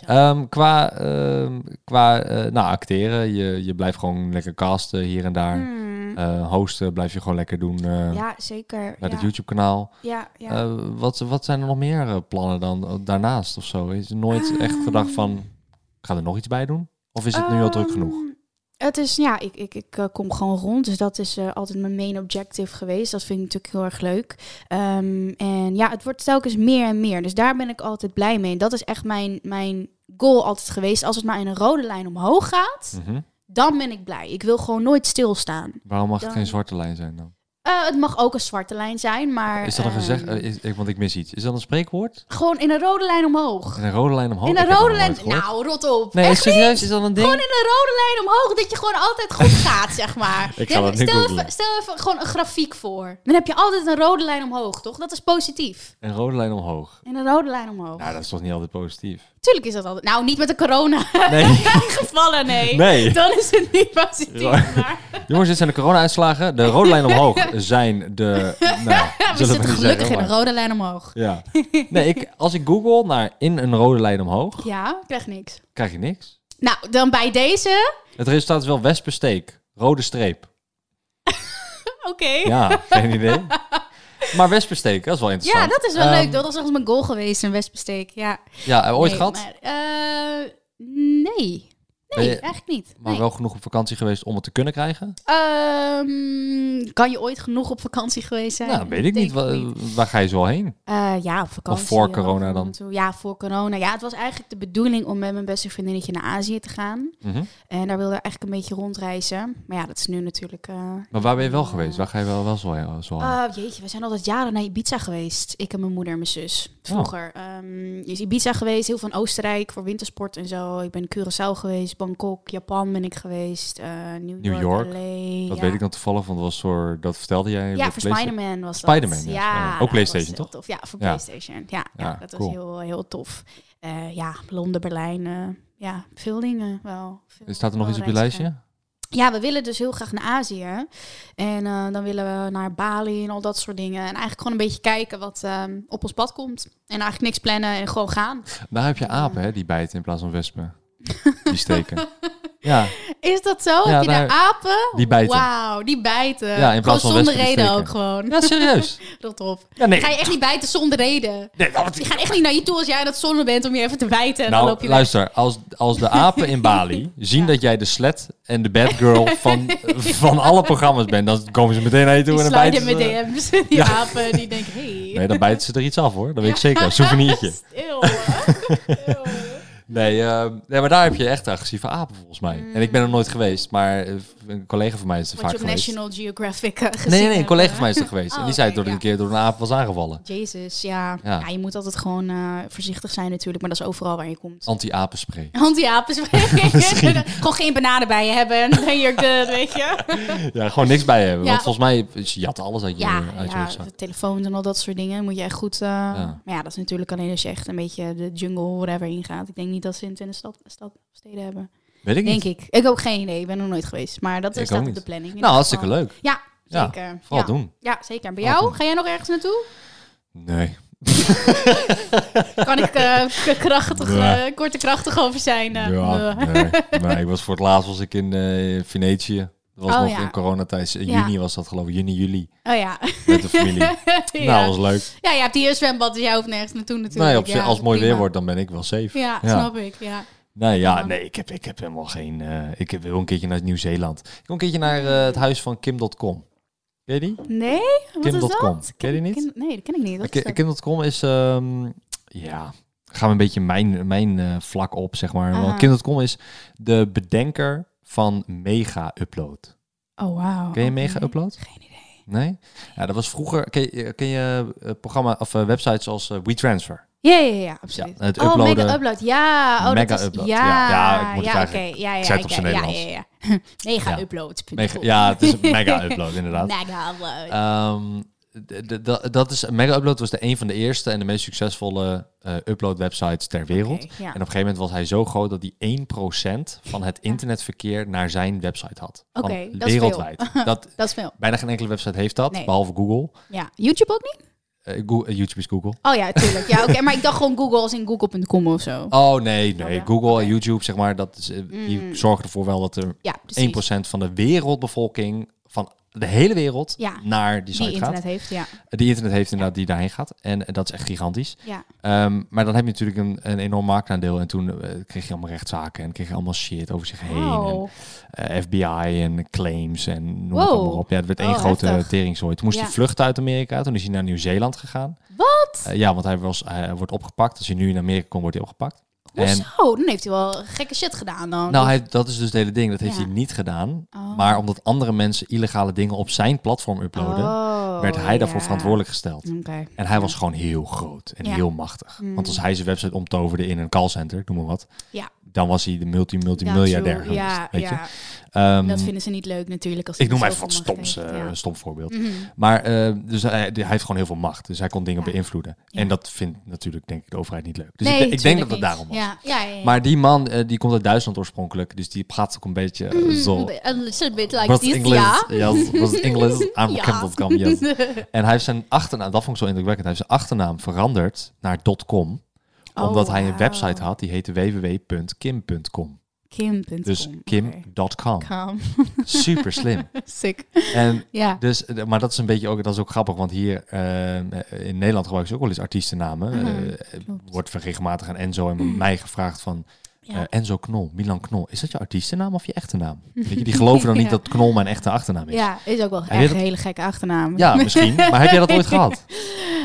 S1: Ehm, qua ehm, qua eh, nou, acteren, je, je blijft gewoon lekker casten hier en
S2: Hmm.
S1: daar. Eh, hosten blijf je gewoon lekker doen eh,
S2: Ja, zeker.
S1: bij het YouTube-kanaal.
S2: Ja, ja.
S1: Eh, wat, wat zijn er nog meer eh, plannen dan eh, daarnaast of zo? Is er nooit echt gedacht van, ik ga er nog iets bij doen? Of is het nu al druk
S2: Ehm. Ehm,
S1: genoeg?
S2: Het is, ja, ik, ik, ik eh, kom gewoon rond. Dus dat is eh, altijd mijn main objective geweest. Dat vind ik natuurlijk heel erg leuk. Ehm, en ja, het wordt telkens meer en meer. Dus daar ben ik altijd blij mee. Dat is echt mijn, mijn goal altijd geweest. Als het maar in een rode lijn omhoog gaat,
S1: Mhm.
S2: dan ben ik blij. Ik wil gewoon nooit stilstaan.
S1: Waarom mag het
S2: dan-
S1: geen zwarte lijn zijn dan?
S2: Eh, het mag ook een zwarte lijn zijn, maar...
S1: Is dat een
S2: ehm,
S1: gezegd? eh, is- ik- want ik mis iets. Is dat een spreekwoord?
S2: Gewoon in een rode lijn omhoog.
S1: En een rode lijn omhoog?
S2: In
S1: Oh, Ik
S2: een
S1: heb dat nog
S2: rode lijn...
S1: nooit gehoord.
S2: Nou, rot op.
S1: Nee,
S2: Echt
S1: serieus?
S2: niet?
S1: Is dat een ding?
S2: Gewoon in een rode lijn omhoog, dat je gewoon altijd goed gaat, zeg maar.
S1: Ik ga
S2: Ja,
S1: dat nu
S2: stel,
S1: googlen.
S2: even, stel even gewoon een grafiek voor. Dan heb je altijd een rode lijn omhoog, toch? Dat is positief.
S1: Een rode lijn omhoog.
S2: En een rode lijn omhoog.
S1: Nou, dat is toch niet altijd positief?
S2: Tuurlijk is dat altijd. Nou, niet met de corona
S1: Nee.
S2: gevallen, nee.
S1: Nee.
S2: Dan is het niet positief.
S1: Ja.
S2: Maar
S1: Jongens, dit zijn de corona-uitslagen. De rode lijn omhoog zijn de... Nou, ja,
S2: we
S1: zullen
S2: zitten
S1: niet
S2: gelukkig
S1: zeggen,
S2: in een
S1: maar-
S2: rode lijn omhoog.
S1: Ja. Nee, ik, als ik google naar in een rode lijn omhoog,
S2: Ja, ik krijg niks.
S1: krijg je niks.
S2: Nou, dan bij deze.
S1: Het resultaat is wel wespensteek. Rode streep.
S2: Oké.
S1: Ja, geen idee. Maar wespensteek, dat is wel
S2: Ja,
S1: interessant.
S2: dat is wel
S1: Ehm,
S2: leuk. Dat was echt mijn goal geweest, een wespensteek. Ja.
S1: Ja, hebben we ooit
S2: Nee,
S1: gehad.
S2: maar, eh, nee.
S1: Ben
S2: Nee,
S1: je-
S2: eigenlijk niet.
S1: Maar
S2: Nee.
S1: wel genoeg op vakantie geweest om het te kunnen krijgen?
S2: Ehm, kan je ooit genoeg op vakantie geweest zijn?
S1: nou, weet ik
S2: Eh, Denk
S1: niet. Wa- Waar ga je zo heen?
S2: Eh, ja, op vakantie.
S1: voor
S2: ja,
S1: corona
S2: af en
S1: dan?
S2: toe. Ja, voor corona. Ja, het was eigenlijk de bedoeling om met mijn beste vriendinnetje naar Azië te gaan.
S1: Mhm.
S2: En daar wilden we eigenlijk een beetje rondreizen. Maar ja, dat is nu natuurlijk... eh,
S1: Maar waar ben je wel geweest? Waar ga je wel, wel zo heen? Zo heen?
S2: Ah, jeetje, we zijn altijd jaren naar Ibiza geweest. Ik en mijn moeder en mijn zus.
S1: Oh.
S2: Vroeger. Ehm, is Ibiza geweest, heel van Oostenrijk voor wintersport en zo. Ik ben Curaçao geweest, Bangkok, Japan ben ik geweest. eh, New,
S1: New
S2: York,
S1: York.
S2: LA,
S1: dat
S2: ja.
S1: weet ik dan toevallig, want dat, was voor, dat vertelde jij.
S2: Ja,
S1: op
S2: voor
S1: PlayStation.
S2: Spider-Man was
S1: Spider-Man,
S2: dat.
S1: ja,
S2: ja,
S1: Spider-Man. Ook
S2: dat was
S1: PlayStation,
S2: heel
S1: toch?
S2: tof. Ja, voor
S1: Ja.
S2: PlayStation. Ja, ja,
S1: Ja,
S2: dat
S1: cool.
S2: was heel, heel tof. Eh, ja, Londen, Berlijn. eh, ja, veel dingen wel. Veel-
S1: Staat er nog
S2: wel
S1: iets op je
S2: reizigen.
S1: lijstje?
S2: Ja, we willen dus heel graag naar Azië. En eh, dan willen we naar Bali en al dat soort dingen. En eigenlijk gewoon een beetje kijken wat ehm, op ons pad komt. En eigenlijk niks plannen en gewoon gaan.
S1: Daar heb je apen, hè, die bijten in plaats van wespen. Die steken. Ja,
S2: Is dat zo? Heb je
S1: daar-
S2: daar apen?
S1: die bijten.
S2: Wauw, die bijten.
S1: Ja, in plaats
S2: gewoon
S1: van
S2: zonder
S1: wespen
S2: reden
S1: steken.
S2: ook gewoon.
S1: ja serieus.
S2: Dat op.
S1: Ja, nee.
S2: Ga je echt niet bijten zonder reden?
S1: Nee, dat-
S2: Die gaan echt niet naar je toe als jij dat zonne bent om je even te bijten. En dan loop
S1: Nou,
S2: je weg.
S1: luister, als, als de apen in Bali zien dat jij de slet en de bad girl van, van alle programma's bent, dan komen ze meteen naar je toe
S2: Die
S1: en dan bijten
S2: sliden met
S1: ze-
S2: DM's. Die
S1: Ja.
S2: apen die denken, hey.
S1: Nee, dan bijten ze er iets af hoor, dat weet ik zeker. Een souvenirtje.
S2: Stil, hè? Eeuw.
S1: Nee, eh, nee, maar daar heb je echt agressieve apen volgens mij. En ik ben er nooit geweest, maar eh, een collega van mij is er
S2: Wat je
S1: vaak
S2: op
S1: geweest.
S2: National Geographic eh,
S1: Nee,
S2: gezien
S1: nee, nee, een
S2: hebt,
S1: collega
S2: hè?
S1: van mij is er geweest. en die
S2: Oh,
S1: zei
S2: oké,
S1: dat hij een
S2: ja.
S1: keer door een aap was aangevallen.
S2: Jezus, ja.
S1: Ja.
S2: ja. Je moet altijd gewoon eh, voorzichtig zijn natuurlijk, maar dat is overal waar je komt.
S1: Anti-apenspray.
S2: Anti-apens. gewoon geen bananen bij je hebben en dan je good, weet je.
S1: Ja, gewoon niks bij hebben.
S2: Ja.
S1: Want volgens mij, ze jatten alles uit je,
S2: Ja,
S1: eh, uit je
S2: ja
S1: rugzak.
S2: de telefoons en al dat soort dingen moet je echt goed... eh, Maar ja, dat is natuurlijk alleen als je echt een beetje de jungle, whatever, ingaat. Ik denk niet dat ze het in de stad, stad steden hebben.
S1: Weet ik niet.
S2: Denk ik. Ik heb ook geen idee, ik ben er nooit geweest. Maar dat
S1: Ik
S2: eh, staat
S1: ook
S2: op
S1: niet.
S2: de planning. in
S1: Nou,
S2: ieder
S1: hartstikke
S2: geval.
S1: leuk.
S2: Ja,
S1: Ja,
S2: zeker. Ja,
S1: vooral doen.
S2: Ja, zeker. Bij
S1: Vooral
S2: jou?
S1: doen.
S2: Ga jij nog ergens naartoe?
S1: Nee.
S2: Kan ik eh, krachtig,
S1: Ja.
S2: eh, korte krachtig over zijn? eh?
S1: Ja,
S2: Eh.
S1: nee. nee. Ik was voor het laatst was ik in eh, Venetië. Dat was
S2: Oh,
S1: nog
S2: ja.
S1: in coronatijd. In
S2: Ja.
S1: juni was dat geloof ik. Juni, juli.
S2: Oh ja.
S1: Met de familie.
S2: ja.
S1: Nou, dat was leuk.
S2: ja, je hebt hier een zwembad, dus jij hoeft nergens naartoe natuurlijk.
S1: Nee, op zich,
S2: Ja,
S1: als het mooi
S2: prima.
S1: weer wordt, dan ben ik wel safe.
S2: Ja,
S1: Ja.
S2: snap ik. Ja.
S1: Nee, ja,
S2: Ja.
S1: nee ik, heb, ik heb helemaal geen... eh, ik heb wel een keertje naar Nieuw-Zeeland. Ik wil een keertje naar eh, het huis van Kim.com. Ken je die?
S2: Nee? Wat is
S1: Kim.com.
S2: dat?
S1: Ken je die niet?
S2: Ken- nee, dat ken ik niet. Wat is
S1: Ki-
S2: dat?
S1: Kim.com is, ehm, ja, gaan we een beetje mijn, mijn eh, vlak op, zeg maar.
S2: Aha.
S1: Want Kim.com is de bedenker van Mega Upload.
S2: Oh, wauw.
S1: Ken je
S2: oké.
S1: Mega Upload?
S2: Geen idee.
S1: Nee? Ja, dat was vroeger. Ken je, ken je eh, programma of eh, websites als eh, WeTransfer?
S2: Ja, ja, ja, ja, absoluut.
S1: Ja, nou, het
S2: oh,
S1: uploaden.
S2: mega upload. Ja, oh,
S1: Mega
S2: dat is,
S1: upload, ja.
S2: Ja,
S1: Ja, ik moet
S2: ja,
S1: het
S2: oké.
S1: eigenlijk-
S2: Ja, ja,
S1: ik zei het op
S2: ja,
S1: zijn
S2: ja,
S1: Nederlands.
S2: Ja, ja, Mega
S1: Ja.
S2: upload.
S1: Mega, ja, het is een Mega Upload, inderdaad.
S2: Mega upload.
S1: Ehm, d- d- d- dat is, Mega Upload was de een van de eerste en de meest succesvolle eh, upload websites ter wereld.
S2: Oké, ja.
S1: En op een gegeven moment was hij zo groot dat hij 1% van het internetverkeer naar zijn website had. Van
S2: Oké, dat is veel.
S1: wereldwijd. Dat,
S2: Dat is veel.
S1: bijna geen enkele website heeft dat,
S2: Nee.
S1: behalve Google.
S2: Ja, YouTube ook niet?
S1: Eh, Go- eh, YouTube is Google.
S2: Oh ja, tuurlijk. Ja, oké. Maar ik dacht gewoon Google als in google.com of zo.
S1: Oh nee, nee.
S2: Oh, ja. Mm.
S1: Google en YouTube, zeg maar, dat is, eh, die zorgen ervoor wel dat er
S2: Ja, precies.
S1: 1% van de wereldbevolking van de hele wereld
S2: Ja,
S1: naar die site
S2: Die
S1: gaat.
S2: internet heeft, ja.
S1: Die internet heeft inderdaad die daarheen gaat. En eh, dat is echt gigantisch.
S2: Ja.
S1: Ehm, maar dan heb je natuurlijk een, een enorm marktaandeel. En toen eh, kreeg je allemaal rechtszaken en kreeg je allemaal shit over zich heen.
S2: Wow.
S1: En, eh, FBI en claims en noem het
S2: Wow.
S1: allemaal op. Ja, het werd één
S2: Oh,
S1: grote
S2: heftig.
S1: teringzooi. Toen moest
S2: Ja.
S1: hij vluchten uit Amerika. Toen is hij naar Nieuw-Zeeland gegaan.
S2: Wat?
S1: Eh, ja, want hij, was, hij wordt opgepakt. Als hij nu in Amerika komt, wordt hij opgepakt. En
S2: Hoezo? Dan heeft hij wel gekke shit gedaan dan.
S1: nou, hij, dat is dus het hele ding. Dat heeft
S2: Ja.
S1: hij niet gedaan.
S2: Oh.
S1: Maar omdat andere mensen illegale dingen op zijn platform uploaden,
S2: Oh,
S1: werd hij daarvoor
S2: ja.
S1: verantwoordelijk gesteld.
S2: Oké.
S1: En hij was gewoon heel groot en
S2: Ja. Mm.
S1: heel machtig. Want als hij zijn website omtoverde in een callcenter, noem maar wat,
S2: Ja.
S1: dan was hij de multi multimiljardair geweest.
S2: Ja,
S1: weet
S2: ja.
S1: Je? Ehm,
S2: dat vinden ze niet leuk natuurlijk. Als
S1: ik noem
S2: het
S1: maar even wat
S2: zoveel macht
S1: stoms,
S2: heeft,
S1: eh,
S2: ja.
S1: een stom voorbeeld.
S2: Mhm.
S1: Maar eh, dus hij, hij heeft gewoon heel veel macht. Dus hij kon dingen
S2: Ja.
S1: beïnvloeden.
S2: Ja.
S1: En dat vindt natuurlijk denk ik de overheid niet leuk. Dus
S2: Nee,
S1: ik, ik denk dat
S2: tuurlijk
S1: het
S2: niet.
S1: daarom was.
S2: Ja, ja, ja, ja.
S1: Maar die man eh, die komt uit Duitsland oorspronkelijk. Dus die praat ook een beetje eh, zo.
S2: Mm, a little bit like
S1: Was
S2: this,
S1: Engels,
S2: ja.
S1: yes, was Engels, I'm
S2: Ja.
S1: Campbell Cam, yes. En hij heeft zijn achternaam, dat vond ik zo indrukwekkend, hij heeft zijn achternaam veranderd naar .com.
S2: Oh,
S1: omdat hij een
S2: wauw.
S1: website had, die heette www.kim.com.
S2: Kim.com.
S1: Dus
S2: oké.
S1: kim.com.
S2: Kam.
S1: Super slim.
S2: Sick.
S1: En
S2: Ja.
S1: dus, eh, maar dat is een beetje ook, dat is ook grappig, want hier eh, in Nederland gebruiken ze ook wel eens artiestennamen.
S2: Mhm,
S1: Eh, eh,
S2: klopt. Hmm.
S1: wordt van regelmatig aan Enzo en mij gevraagd van
S2: Ja.
S1: eh, Enzo Knol, Milan Knol. Is dat je artiestennaam of je echte naam? Weet je, die geloven dan niet
S2: Ja.
S1: dat Knol mijn echte achternaam is.
S2: ja, is ook wel
S1: Hij
S2: echt
S1: weet
S2: een hele gekke achternaam.
S1: Ja, misschien. Maar heb jij dat ooit gehad?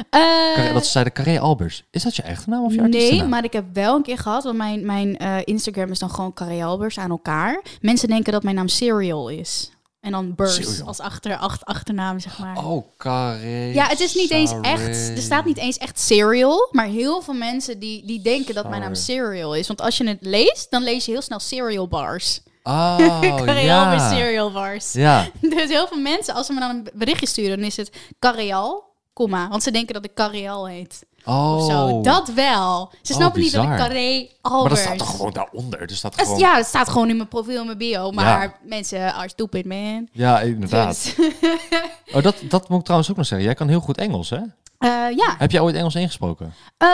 S2: Eh,
S1: Carré- dat ze zeiden Carré Albers. Is dat je echte naam of je nou?
S2: Nee,
S1: artiestennaam?
S2: maar ik heb wel een keer gehad, want mijn, mijn eh, Instagram is dan gewoon Carrie Albers aan elkaar. Mensen denken dat mijn naam Serial is. En dan Burst
S1: Serial.
S2: als achter, acht, achternaam, zeg maar.
S1: Oh, Carré.
S2: Ja, het is niet eens
S1: Saré.
S2: echt. Er staat niet eens echt serial. Maar heel veel mensen die, die denken dat mijn naam serial is. Want als je het leest, dan lees je heel snel serial bars.
S1: Oh,
S2: Carreal met
S1: ja.
S2: serial bars.
S1: Ja,
S2: Dus heel veel mensen, als ze me dan een berichtje sturen, dan is het Carreal, komma. Want ze denken dat ik Carreal heet.
S1: oh.
S2: Of zo. Dat wel. Ze
S1: Oh,
S2: snappen niet dat ik
S1: bizar.
S2: Carré
S1: Maar dat
S2: Albers.
S1: staat toch gewoon daaronder? Er staat
S2: Dat is-
S1: gewoon...
S2: Ja, het staat gewoon in mijn profiel, in mijn bio. Maar
S1: Ja.
S2: mensen are stupid, man.
S1: Ja, inderdaad.
S2: Dus,
S1: Oh, dat, dat moet ik trouwens ook nog zeggen. Jij kan heel goed Engels, hè?
S2: eh, ja.
S1: Heb jij ooit Engels ingesproken?
S2: Eh,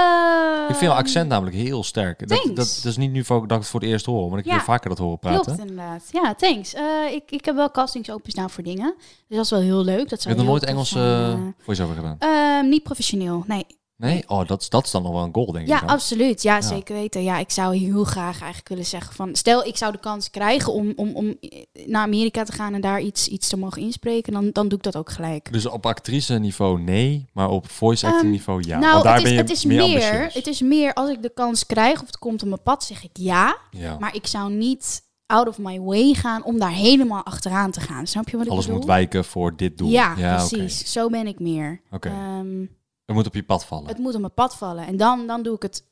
S1: ik vind jouw accent namelijk heel sterk. Dat, dat,
S2: thanks.
S1: dat is niet nu voor- dat ik het voor het eerst hoor, want ik
S2: Ja.
S1: wil vaker dat horen praten.
S2: Klopt, inderdaad. Ja, thanks. Eh, ik, ik heb wel castings openstaan voor dingen. Dus dat is wel heel leuk. Dat
S1: Je
S2: zou
S1: hebt nog nooit
S2: heel tof
S1: Engels
S2: zijn,
S1: eh
S2: eh.
S1: voice-over gedaan?
S2: Ehm, niet professioneel, nee.
S1: Nee? Oh, dat, is- dat is dan nog wel een goal, denk
S2: Ja,
S1: ik. dan.
S2: absoluut. Ja, zeker weten. Ja, ik zou heel graag eigenlijk willen zeggen van... Stel, ik zou de kans krijgen om, om, om eh, naar Amerika te gaan en daar iets, iets te mogen inspreken. Dan, dan doe ik dat ook gelijk.
S1: Dus op actrice niveau nee, maar op voice acting
S2: Ehm,
S1: niveau ja.
S2: nou,
S1: Want daar
S2: het is,
S1: ben je
S2: het is
S1: meer,
S2: meer,
S1: ambitieus.
S2: het is meer als ik de kans krijg of het komt op mijn pad, zeg ik ja.
S1: ja.
S2: Maar ik zou niet out of my way gaan om daar helemaal achteraan te gaan. Snap je wat ik
S1: Alles
S2: bedoel?
S1: moet wijken voor dit doel.
S2: Ja,
S1: oké.
S2: precies. Zo ben ik meer.
S1: Oké.
S2: Ehm,
S1: Het moet op je pad vallen.
S2: het moet op mijn pad vallen. En dan, dan doe ik het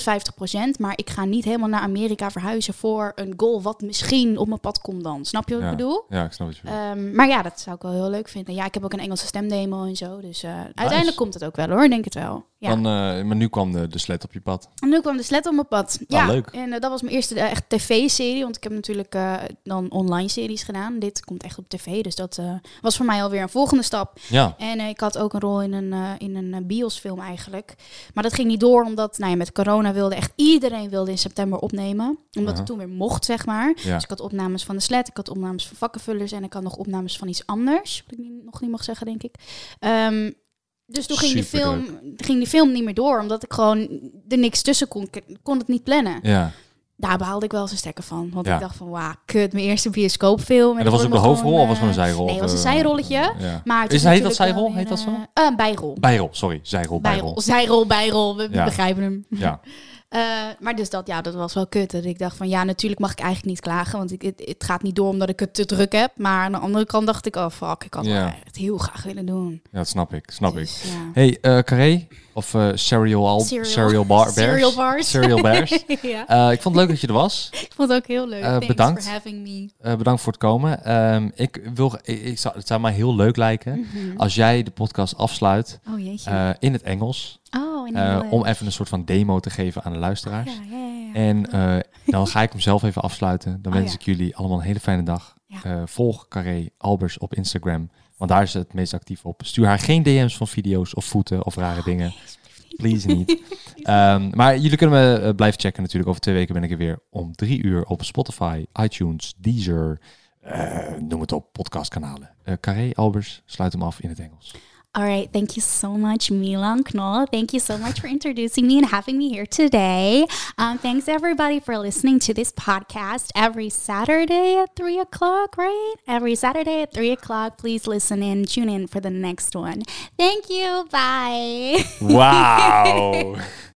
S2: 150%, maar ik ga niet helemaal naar Amerika verhuizen voor een goal wat misschien op mijn pad komt dan. Snap je wat
S1: ja.
S2: ik bedoel?
S1: Ja, ik snap wat je bedoelt.
S2: Ehm, maar ja, dat zou ik wel heel leuk vinden. Ja, ik heb ook een Engelse stemdemo en zo. Dus eh, uiteindelijk komt het ook wel hoor, denk het wel. Ja.
S1: Dan, eh, maar nu kwam de, de slet op je pad.
S2: En nu kwam de slet op mijn pad.
S1: Nou,
S2: ja,
S1: leuk.
S2: En eh, dat was mijn eerste eh, echt tv-serie. Want ik heb natuurlijk eh, dan online series gedaan. Dit komt echt op tv. Dus dat eh, was voor mij alweer een volgende stap.
S1: Ja.
S2: En eh, ik had ook een rol in een, eh, in een eh, biosfilm eigenlijk. Maar dat ging niet door, omdat nou ja, met corona wilde echt iedereen wilde in september opnemen. Omdat
S1: Aha.
S2: het toen weer mocht, zeg maar.
S1: Ja.
S2: Dus ik had opnames van de slet, ik had opnames van vakkenvullers... en ik had nog opnames van iets anders. Wat ik niet- nog niet mag zeggen, denk ik. Ehm, dus toen ging die,
S1: Superleuk.
S2: film, ging die film niet meer door, omdat ik gewoon er niks tussen kon. Ik kon het niet plannen.
S1: ja.
S2: Daar behaalde ik wel zijn stekker van. Want
S1: Ja.
S2: ik dacht van, wauw, kut, mijn eerste bioscoopfilm.
S1: En dat was ook de hoofdrol of was gewoon een zijrol?
S2: Nee, het was een
S1: Eh,
S2: zijrolletje.
S1: ja.
S2: Maar het
S1: is,
S2: is
S1: heet dat
S2: natuurlijk wel
S1: zijrol? Heet dat
S2: weer,
S1: zo?
S2: eh, eh, een bijrol.
S1: Bijrol, sorry. Zijrol, bijrol.
S2: Bijrol, zijrol, bijrol, we we
S1: Ja.
S2: begrijpen hem.
S1: Ja.
S2: Eh, maar dus dat, ja, dat was wel kut. Dat ik dacht van, ja, natuurlijk mag ik eigenlijk niet klagen, want ik, het, het gaat niet door omdat ik het te druk heb. Maar aan de andere kant dacht ik, oh fuck, ik had
S1: Ja.
S2: het echt heel graag willen doen.
S1: ja, dat snap ik. Snap ik.
S2: Dus, ja.
S1: Hey, eh Carré, of eh Serial Al...
S2: Cereal.
S1: Bar Bears.
S2: Cereal bars.
S1: Cereal Bears.
S2: ja,
S1: Eh, ik vond het leuk dat je er was.
S2: ik vond het ook heel leuk.
S1: Eh,
S2: Thanks
S1: bedankt.
S2: for having me.
S1: Eh, bedankt voor het komen. Ehm, ik wil, ik, ik zou, het zou mij heel leuk lijken als jij de podcast afsluit
S2: Oh jeetje.
S1: eh, in het Engels.
S2: oh, en
S1: eh, om even een soort van demo te geven aan de luisteraars.
S2: Ja, ja, ja, ja.
S1: En eh, dan ga ik hem zelf even afsluiten. Dan
S2: Oh,
S1: wens
S2: ja.
S1: ik jullie allemaal een hele fijne dag.
S2: Ja.
S1: Eh, volg Carré Albers op Instagram, want daar is ze het meest actief op. Stuur haar geen DM's van video's of voeten of
S2: Oh,
S1: rare dingen. Please niet. Ehm, maar jullie kunnen me eh, blijven checken natuurlijk. Over twee weken ben ik er weer om drie uur op Spotify, iTunes, Deezer, eh, noem het op, podcastkanalen. Eh Carré Albers, sluit hem af in het Engels.
S2: All right, thank you so much, Milan Knoll. Thank you so much for introducing me and having me here today. Um, thanks everybody for listening to this podcast every Saturday at three o'clock, right? Every Saturday at three o'clock. Please listen in, tune in for the next one. Thank you. Bye.
S1: Wauw!